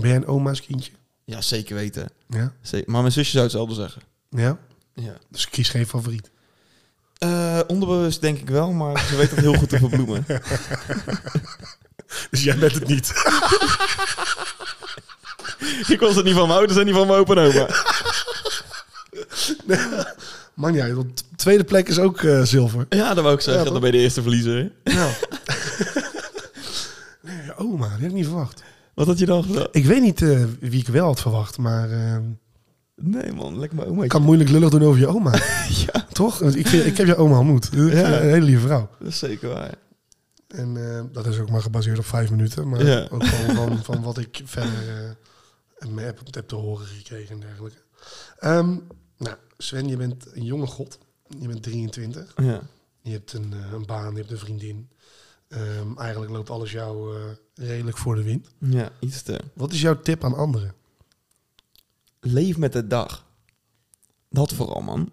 Ben jij een oma's kindje?
Ja, zeker weten.
Ja.
Ze- maar mijn zusje zou hetzelfde zeggen.
Ja?
Ja.
Dus ik kies geen favoriet.
Eh, onderbewust denk ik wel, maar ze weet dat heel goed te verbloemen.
Dus jij bent het niet.
ik was het niet van mijn ouders en niet van mijn opa en oma.
Man, ja, want tweede plek is ook eh, zilver.
Ja, dat wou ik zeggen.
Ja,
dan ben je de eerste verliezer.
Nou. nee, oma, dat heb ik niet verwacht.
Wat had je dan gedaan?
Ik weet niet eh, wie ik wel had verwacht, maar eh,
Nee man, lekker mijn oma.
ik kan moeilijk lullig doen over je oma.
Ja,
Toch? Want Ik, vind, ik heb je oma ontmoet. Ik vind haar Een hele lieve vrouw.
dat is zeker waar.
En eh, dat is ook maar gebaseerd op vijf minuten. Maar
Ja.
ook van, van, van wat ik verder eh, me heb, heb te horen gekregen en dergelijke. Ehm, nou, Sven, je bent een jonge god. Je bent 23.
Ja.
Je hebt een, eh, een baan, je hebt een vriendin. Ehm, eigenlijk loopt alles jou eh, redelijk voor de wind.
ja, iets te.
Wat is jouw tip aan anderen?
Leef met de dag. Dat vooral man.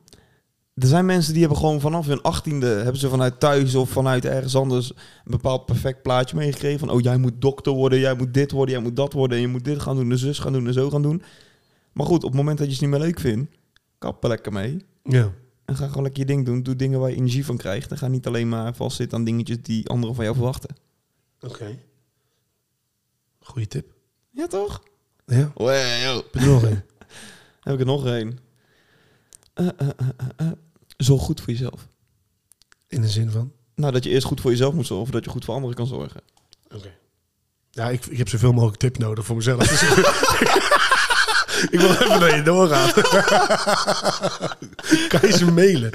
Er zijn mensen die hebben gewoon vanaf hun achttiende... hebben ze vanuit thuis of vanuit ergens anders... een bepaald perfect plaatje meegekregen. Van, oh, jij moet dokter worden, jij moet dit worden, jij moet dat worden... en je moet dit gaan doen, en zus gaan doen, en zo gaan doen. Maar goed, op het moment dat je het niet meer leuk vindt... kap er lekker mee.
Ja.
En ga gewoon lekker je ding doen. Doe dingen waar je energie van krijgt. En ga niet alleen maar vastzitten aan dingetjes die anderen van jou verwachten.
Oké. Goeie tip.
Ja, toch?
Ja,
Wow.
heb je er nog een?
Heb ik er nog één. Eh, eh, eh, eh, eh. Zorg goed voor jezelf.
In de zin van?
Nou, dat je eerst goed voor jezelf moet zorgen... voordat je goed voor anderen kan zorgen.
Oké. Ja, ik, ik heb zoveel mogelijk tip nodig voor mezelf. Dus ik- ik wil even dat je doorgaat. kan je ze mailen?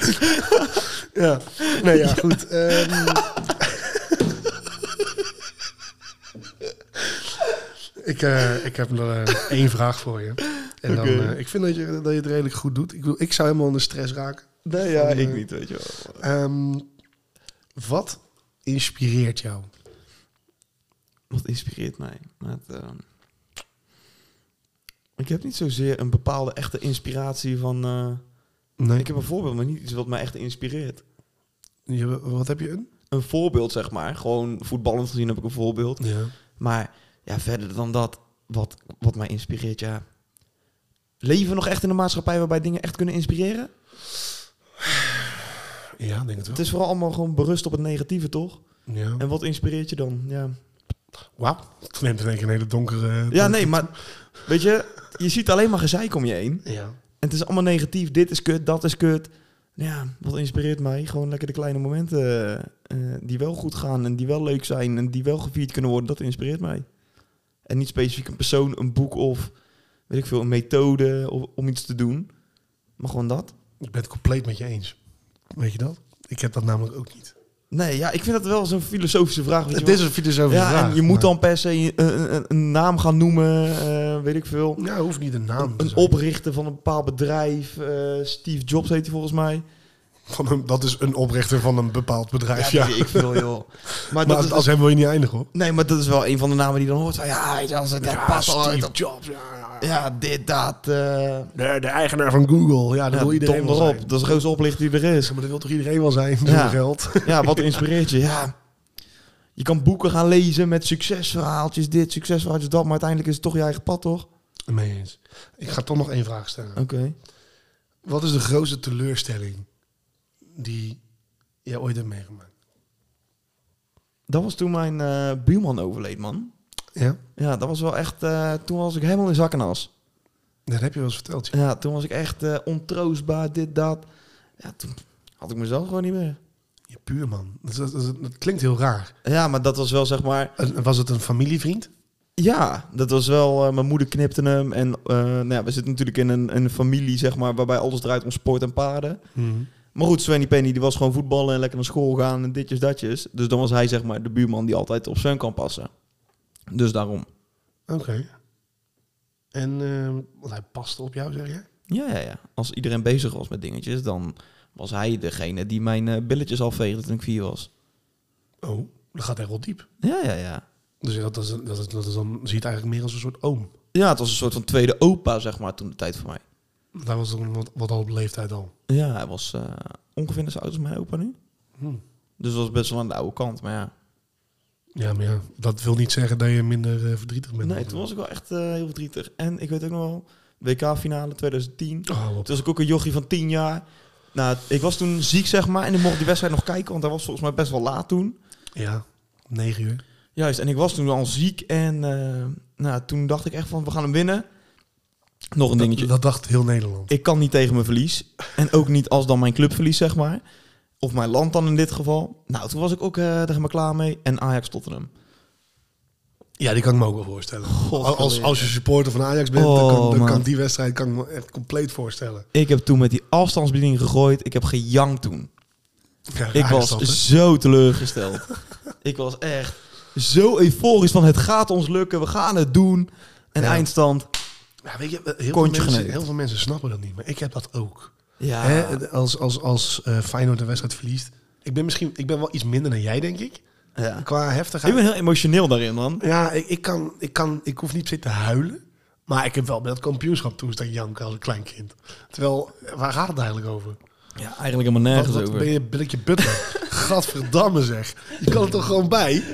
ja. Nou ja, goed. ehm. ik, eh, ik heb nog eh, één vraag voor je. En dan,
Oké.
eh, ik vind dat je, dat je het redelijk goed doet. Ik, bedoel, ik zou helemaal onder stress raken.
Nee, ja,
Van, eh,
ik niet, weet je wel.
Ehm, wat inspireert jou?
Wat inspireert mij? Met, ehm, Ik heb niet zozeer een bepaalde echte inspiratie van... eh,
Nee.
Ik heb een voorbeeld, maar niet iets wat mij echt inspireert.
Je- wat heb je een?
een voorbeeld, zeg maar. Gewoon voetballend gezien heb ik een voorbeeld.
Ja.
Maar ja, verder dan dat, wat, wat mij inspireert, ja. Leven we nog echt in een maatschappij waarbij dingen echt kunnen inspireren?
Ja, ik denk het wel.
Het is vooral allemaal gewoon berust op het negatieve, toch?
Ja.
En wat inspireert je dan? Ja,
Wauw. Het neemt in één keer een hele donkere...
ja nee, maar weet je, je ziet alleen maar gezeik om je heen.
Ja.
En het is allemaal negatief. Dit is kut, dat is kut. Ja, wat inspireert mij? Gewoon lekker de kleine momenten eh, eh, die wel goed gaan en die wel leuk zijn en die wel gevierd kunnen worden. Dat inspireert mij. En niet specifiek een persoon, een boek of weet ik veel, een methode of, om iets te doen. Maar gewoon dat.
Ik ben het compleet met je eens. Weet je dat? Ik heb dat namelijk ook niet.
Nee, ja, ik vind dat wel zo'n filosofische vraag. Weet je
Het
wel.
is een filosofische
ja,
vraag.
en je moet
maar-
dan per se een, een, een naam gaan noemen, eh, weet ik veel.
Nou, hoeft niet een naam te
Een
zijn.
oprichter van een bepaald bedrijf. eh, Steve Jobs heet hij volgens mij.
Van een, dat is een oprichter van een bepaald bedrijf, ja.
weet ik veel, joh. Maar,
Maar
dat is,
als hem wil je niet eindigen, hoor.
nee, maar dat is wel een van de namen die dan hoort. Van, ja, weet je, als het echt past. al, dat-
Jobs, ja, ja.
ja, dit, dat. eh
De, de eigenaar van Google, ja, dat
ja,
wil iedereen wel
donder op.
zijn.
Dat is de grootste oplichter die er is.
Maar dat wil toch iedereen wel zijn,
Ja.
zonder geld?
Ja, wat inspireert je? Ja. Je kan boeken gaan lezen met succesverhaaltjes, dit, succesverhaaltjes, dat. Maar uiteindelijk is het toch je eigen pad, toch?
Mee eens. Ik ga toch nog één vraag stellen.
Oké.
Wat is de grootste teleurstelling die jij ooit hebt meegemaakt?
Dat was toen mijn eh, buurman overleed, man.
Ja?
Ja, dat was wel echt... eh, toen was ik helemaal in zak en as.
Dat heb je wel eens verteld, ja.
Ja, toen was ik echt eh, ontroostbaar, dit, dat. Ja, toen had ik mezelf gewoon niet meer.
Je buurman. Dat, is- dat, is- dat klinkt heel raar.
Ja, maar dat was wel, zeg maar...
En Was het een familievriend?
Ja, dat was wel. eh, mijn moeder knipte hem. En eh, nou ja, we zitten natuurlijk in een, een familie, zeg maar, waarbij alles draait om sport en paarden.
Mhm.
Maar goed, Svenny Penny die was gewoon voetballen en lekker naar school gaan en ditjes, datjes. Dus dan was hij, zeg maar, de buurman die altijd op Sven kan passen. Dus daarom.
Oké. En ehm, want hij paste op jou, zeg je?
Ja, ja, ja. Als iedereen bezig was met dingetjes, dan was hij degene die mijn eh, billetjes afveegde toen ik vier was.
Oh, dat gaat echt wel diep.
Ja, ja, ja.
Dus dat, dat, is, dat, is, dat is dan, zie je het eigenlijk meer als een soort oom.
Ja, het was een soort van tweede opa, zeg maar, toen de tijd voor mij.
Daar was dan wat, wat al op leeftijd al.
Ja, hij was eh, ongeveer zo oud als mijn opa nu.
Hm.
Dus was best wel aan de oude kant, maar ja.
Ja, maar ja, dat wil niet zeggen dat je minder eh, verdrietig bent.
Nee, toen was ik wel echt eh, heel verdrietig. En ik weet ook nog wel, WK-finale 2010. Toen
Oh, op.
was ik ook een jochie van 10 jaar. Nou, ik was toen ziek, zeg maar. En ik mocht die wedstrijd nog kijken, want hij was volgens mij best wel laat toen.
Ja, negen uur.
Juist, en ik was toen al ziek. En eh, nou, toen dacht ik echt van, we gaan hem winnen. Nog een dingetje.
Dat, dat dacht heel Nederland.
Ik kan niet tegen mijn verlies. En ook niet als dan mijn club verliest, zeg maar. Of mijn land dan in dit geval. Nou, toen was ik ook eh er maar klaar mee. En Ajax Tottenham.
Ja, die kan ik me ook wel voorstellen.
Godverdomme.
als, als je supporter van Ajax bent, dan,
Oh,
kan, dan
man.
kan die wedstrijd kan ik me echt compleet voorstellen.
Ik heb toen met die afstandsbediening gegooid. Ik heb gejankt toen.
Ja, raar
Ik
is
was dus
dat, hè?
zo teleurgesteld. ik was echt zo euforisch van het gaat ons lukken. We gaan het doen. En
Ja.
eindstand.
Ja, weet je, heel, veel
Kontje
mensen,
geneukt.
heel veel mensen snappen dat niet, maar ik heb dat ook.
Ja.
Hè, als als, als eh, Feyenoord een wedstrijd verliest. Ik ben misschien ik ben wel iets minder dan jij, denk ik.
ja.
Qua heftigheid.
Ik ben heel emotioneel daarin, man.
Ja, ik, ik, kan, ik, kan, ik hoef niet zitten huilen. Maar ik heb wel bij dat kampioenschap toen staan janken als een klein kind. Terwijl, waar gaat het eigenlijk over?
Ja, eigenlijk helemaal
Wat,
nergens
wat
over.
ben je Billetje Butler? Gadverdamme zeg. Je kan er toch gewoon bij?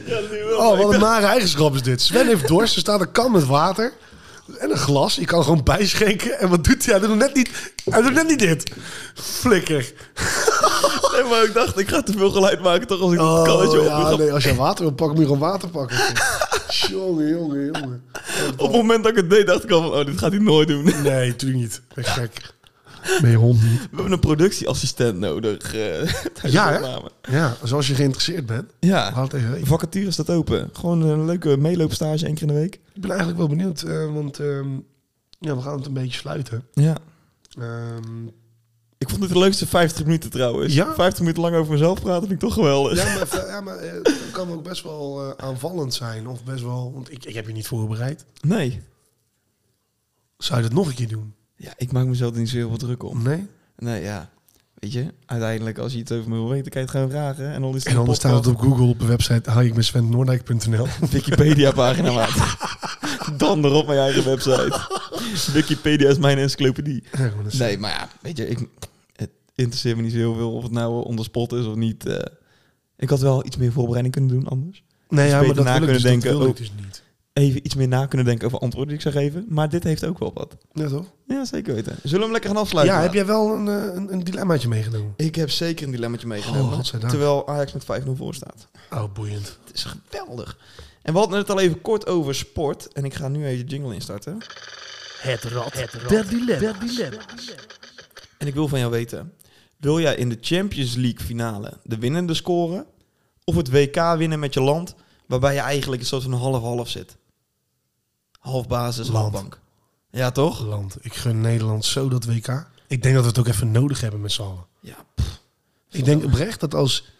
oh, wat een nare eigenschap is dit. Sven heeft dorst, er staat een kan met water. En een glas, je kan er gewoon bijschenken. En wat doet hij? Hij doet net niet, hij doet net niet dit. Flikker.
Nee, maar ik dacht, ik ga te veel geluid maken toch als ik dat
Oh,
kannetje
ja,
op.
nee, als je water wil pakken, moet je gewoon water pakken. jongen, jongen, jongen.
Op het moment dat ik het deed, dacht ik al van, oh, dit gaat hij nooit doen.
Nee, natuurlijk niet. Ben je gek. Ben je hond niet.
We hebben een productieassistent nodig. eh, tijdens de
Ja, hè? Ah.
opname.
Ja, dus als je geïnteresseerd bent,
Ja.
laat het even weten.
Vacature staat open. Gewoon een leuke meeloopstage één keer in de week.
Ik ben eigenlijk wel benieuwd, eh, want ehm, ja, we gaan het een beetje sluiten.
Ja.
Ehm,
Ik vond dit de leukste 50 minuten trouwens.
Ja?
50 minuten lang over mezelf praten vind ik toch geweldig.
ja, maar, ver- ja, maar eh, het kan ook best wel eh, aanvallend zijn. Of best wel, want ik, ik heb je niet voorbereid.
Nee.
Zou je dat nog een keer doen?
Ja, ik maak mezelf er niet zo heel veel druk om.
Nee?
Nee, ja. Weet je, uiteindelijk als je iets over me wil weten, kan je het gaan vragen. hè? En dan is het
En anders staat het
op
op Google op de website haal ik met Sven
Wikipedia-pagina maakt. dan erop mijn eigen website. Wikipedia is mijn encyclopedie. Nee, maar ja, weet je, ik, het interesseert me niet zo heel veel of het nou eh, on the spot is of niet. eh. ik had wel iets meer voorbereiding kunnen doen anders.
Nee, ja,
beter
maar dat
na
wil ik dus,
kunnen
dat
denken,
wil ik
oh.
dus niet.
Even iets meer na kunnen denken over antwoorden die ik zou geven. Maar dit heeft ook wel wat.
Ja, toch?
Ja, zeker weten. Zullen we hem lekker gaan afsluiten?
Ja, heb jij wel een, eh, een, een dilemmaatje meegenomen?
Ik heb zeker een dilemmaatje
Oh,
meegenomen.
godzijdank.
terwijl Ajax met 5-0 voor staat.
Oh, boeiend.
Het is geweldig. En we hadden het al even kort over sport. En ik ga nu even de jingle instarten.
Het rad. Het rad. Der dilemma.
En ik wil van jou weten. Wil jij in de Champions League finale de winnende scoren? Of het WK winnen met je land? Waarbij je eigenlijk een soort van half-half zit. Half basis, half
Land.
bank. Ja, toch?
Land. Ik gun Nederland zo dat WK. Ik denk dat we het ook even nodig hebben met z'n allen.
Ja.
Ik denk oprecht dat als...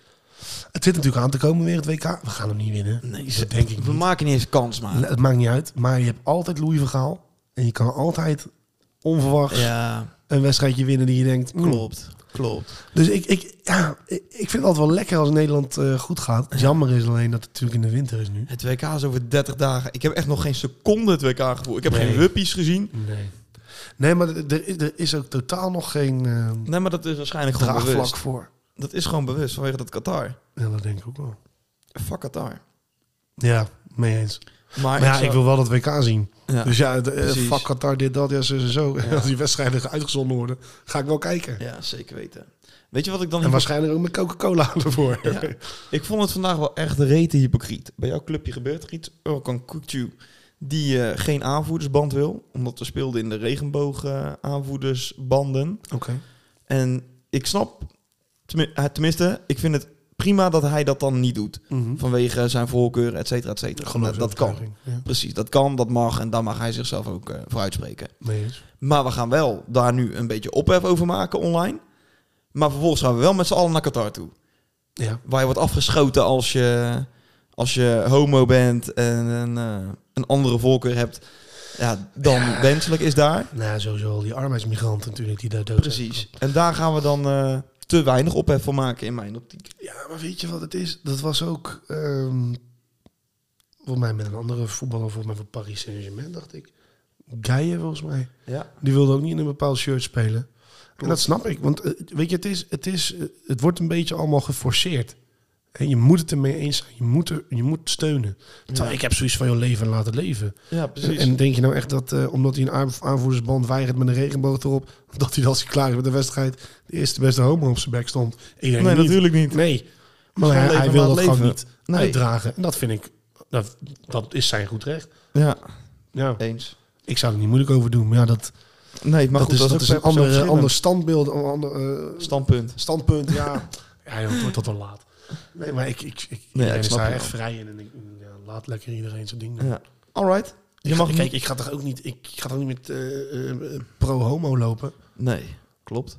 Het zit natuurlijk aan te komen weer het WK. We gaan hem niet winnen.
Nee,
dat denk ik
we
niet.
maken niet eens kans, maar.
Het maakt niet uit. Maar je hebt altijd Louis Vergaal. En je kan altijd onverwachts
Ja,
een wedstrijdje winnen die je denkt... mm.
klopt. Klopt.
Dus ik, ik, ja, ik ik vind het altijd wel lekker als Nederland eh, goed gaat. Het Jammer is alleen dat het natuurlijk in de winter is nu.
Het WK is over 30 dagen. Ik heb echt nog geen seconde het WK gevoel. Ik heb
Nee.
geen wuppies gezien.
Nee. Nee, maar er- er is, er is ook totaal nog geen eh,
Nee, maar dat is waarschijnlijk gewoon
draagvlak
bewust.
voor.
Dat is gewoon bewust vanwege dat Qatar.
Ja, dat denk ik ook wel.
Fuck Qatar.
Ja, mee eens.
Maar,
Maar ja,
zou-
ik wil wel dat WK zien.
Ja.
Dus ja, de, eh,
Precies.
fuck Qatar, dit, dat, ja, zo, zo, zo.
Ja.
Als die wedstrijden uitgezonden worden, ga ik wel kijken.
Ja, zeker weten. Weet je wat ik dan...
En waarschijnlijk ook met Coca-Cola ervoor.
Ja. Ik vond het vandaag wel echt rete hypocriet. Bij jouw clubje gebeurt er iets. Orkan Kukcu, die eh, geen aanvoerdersband wil. Omdat we speelden in de regenboog eh, aanvoerdersbanden.
Oké.
En ik snap... tenmi- eh, Tenminste, ik vind het prima dat hij dat dan niet doet. Vanwege zijn voorkeuren, et cetera, et cetera. Mhm. Nou, Dat, dat kan.
Geloofsovertuiging, Ja.
Precies, dat kan, dat mag. En daar mag hij zichzelf ook eh voor uitspreken.
Mee eens.
Maar we gaan wel daar nu een beetje ophef over maken online. Maar vervolgens gaan we wel met z'n allen naar Qatar toe.
Ja.
Waar je wordt afgeschoten als je, als je homo bent en een, eh, een andere voorkeur hebt ja, dan wenselijk is daar.
Nou, sowieso al die arbeidsmigranten natuurlijk die daar dood zijn
Precies. En daar gaan we dan eh, te weinig ophef van maken in mijn optiek.
Ja, maar weet je wat het is? Dat was ook ehm volgens mij met een andere voetballer, volgens mij van Paris Saint-Germain, dacht ik. Gaia volgens mij.
Ja.
Die wilde ook niet in een bepaald shirt spelen. En dat snap ik, want eh, weet je, het is, het is, eh, het wordt een beetje allemaal geforceerd. Hè, je moet het ermee eens zijn. Je moet, er, je moet steunen. Terwijl ik heb zoiets van jouw leven en laten leven.
Ja, precies.
En denk je nou echt dat, eh, omdat hij een aan- aanvoerdersband weigert met een regenboog erop, dat hij als hij klaar is met de wedstrijd de eerste beste homo op zijn bek stond? Ik denk
nee,
niet.
natuurlijk niet.
Nee. Maar hij,
leven
hij wil
laat
dat gewoon
leven.
niet
Nee.
uitdragen. En dat vind ik, dat, dat is zijn goed recht.
Ja,
Ja.
eens.
Ik zou er niet moeilijk over doen, maar ja, dat,
Nee, maar
dat,
goed,
is, dat,
ook
is
per
een
persoon
andere, ander
verschillend.
standbeeld, een ander eh,
standpunt.
standpunt. Ja, ja joh, het wordt tot wel laat. Nee, maar ik, ik, ik, iedereen
ik
is
snap
daar
je
echt
wel.
vrij in. En ik, mm, ja, laat lekker iedereen zijn ding doen.
Ja. Alright.
Je mag, kijk, ik ga toch ook niet, ik ga toch niet met eh, eh, pro-homo lopen.
Nee, klopt.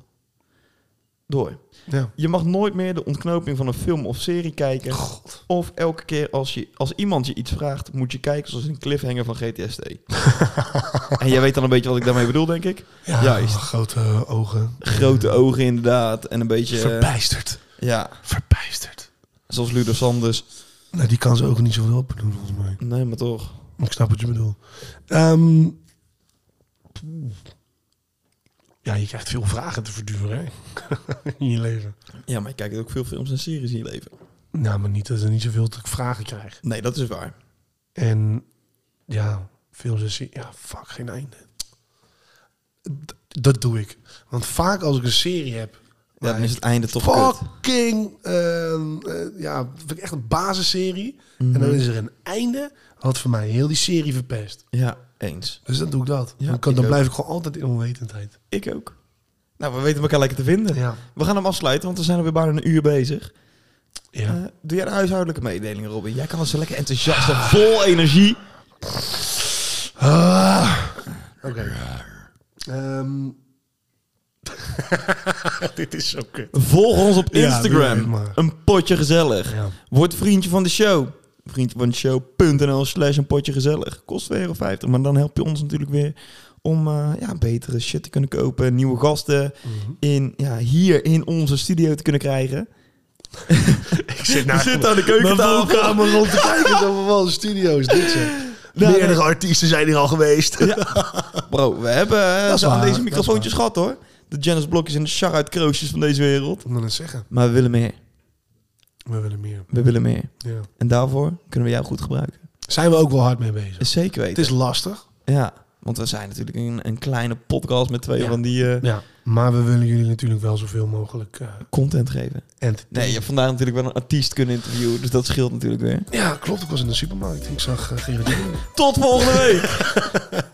Door.
Ja.
Je mag nooit meer de ontknoping van een film of serie kijken.
God.
Of elke keer als, je, als iemand je iets vraagt, moet je kijken zoals een cliffhanger van GTSD. en jij weet dan een beetje wat ik daarmee bedoel, denk ik.
Ja,
Juist.
grote eh, ogen.
Grote ogen inderdaad. En een beetje... eh,
Verbijsterd.
ja,
Verbijsterd.
zoals Ludo Sanders.
Nou, die kan zijn ogen niet zoveel op doen, volgens mij.
Nee, maar toch.
Ik snap wat je bedoelt. Ehm, ja, je krijgt veel vragen te verduren hè? in je leven.
Ja, maar je kijkt ook veel films en series in je leven.
Nou, maar niet dat er niet zoveel te vragen krijgt.
Nee, dat is waar.
En ja, veel ze zien. Ja, fuck, geen einde. D- dat doe ik. Want vaak als ik een serie heb.
Ja, dan is het einde toch kut.
Fucking, ehm, eh, ja, vind ik echt een basisserie. En dan is er een einde wat voor mij heel die serie verpest.
Ja, eens.
Dus dan doe ik dat.
Ja,
dan kan,
ik
dan
ook.
blijf ik gewoon altijd in onwetendheid.
Ik ook. Nou, we weten elkaar lekker te vinden.
Ja.
We gaan hem afsluiten, want we zijn alweer bijna een uur bezig.
Ja.
Eh, doe jij de huishoudelijke mededelingen, Robin? Jij kan het zo lekker enthousiast en
Ah.
vol energie.
Ah. Oké. Ehm, dit is zo kut.
Volg ons op
Ja,
Instagram.
doe het maar.
een potje gezellig.
Ja.
Word vriendje van de show. Vriendje van de show.nl slash een potje gezellig. Kost 2,50 euro, maar dan help je ons natuurlijk weer om eh, ja, betere shit te kunnen kopen. Nieuwe gasten
Mhm.
in, ja, hier in onze studio te kunnen krijgen.
Ik zit
Je zit aan de keukentafel.
kamer Nou, rond te kijken. Dat we wel een studio is dit zeg.
Nou,
Meerdere
nee.
artiesten zijn hier al geweest.
Bro, we hebben eh,
Dat is
ze aan
waar,
deze
dat is
microfoontjes gehad hoor. De Janice Blokjes en de Charuit Kroosjes van deze wereld.
Ik moet het zeggen.
Maar we willen meer.
We willen meer.
We willen meer.
Ja.
En daarvoor kunnen we jou goed gebruiken.
Zijn we ook wel hard mee bezig.
Is zeker
Het
weten.
is lastig.
Ja, want we zijn natuurlijk een, een kleine podcast met twee
Ja.
van die eh,
Ja. Maar we willen jullie natuurlijk wel zoveel mogelijk eh
content geven. Nee, je
entertainen.
hebt vandaag natuurlijk wel een artiest kunnen interviewen, dus dat scheelt natuurlijk weer.
Ja, klopt. Ik was in de supermarkt. Ik zag eh Gerard Diemen.
Tot volgende week!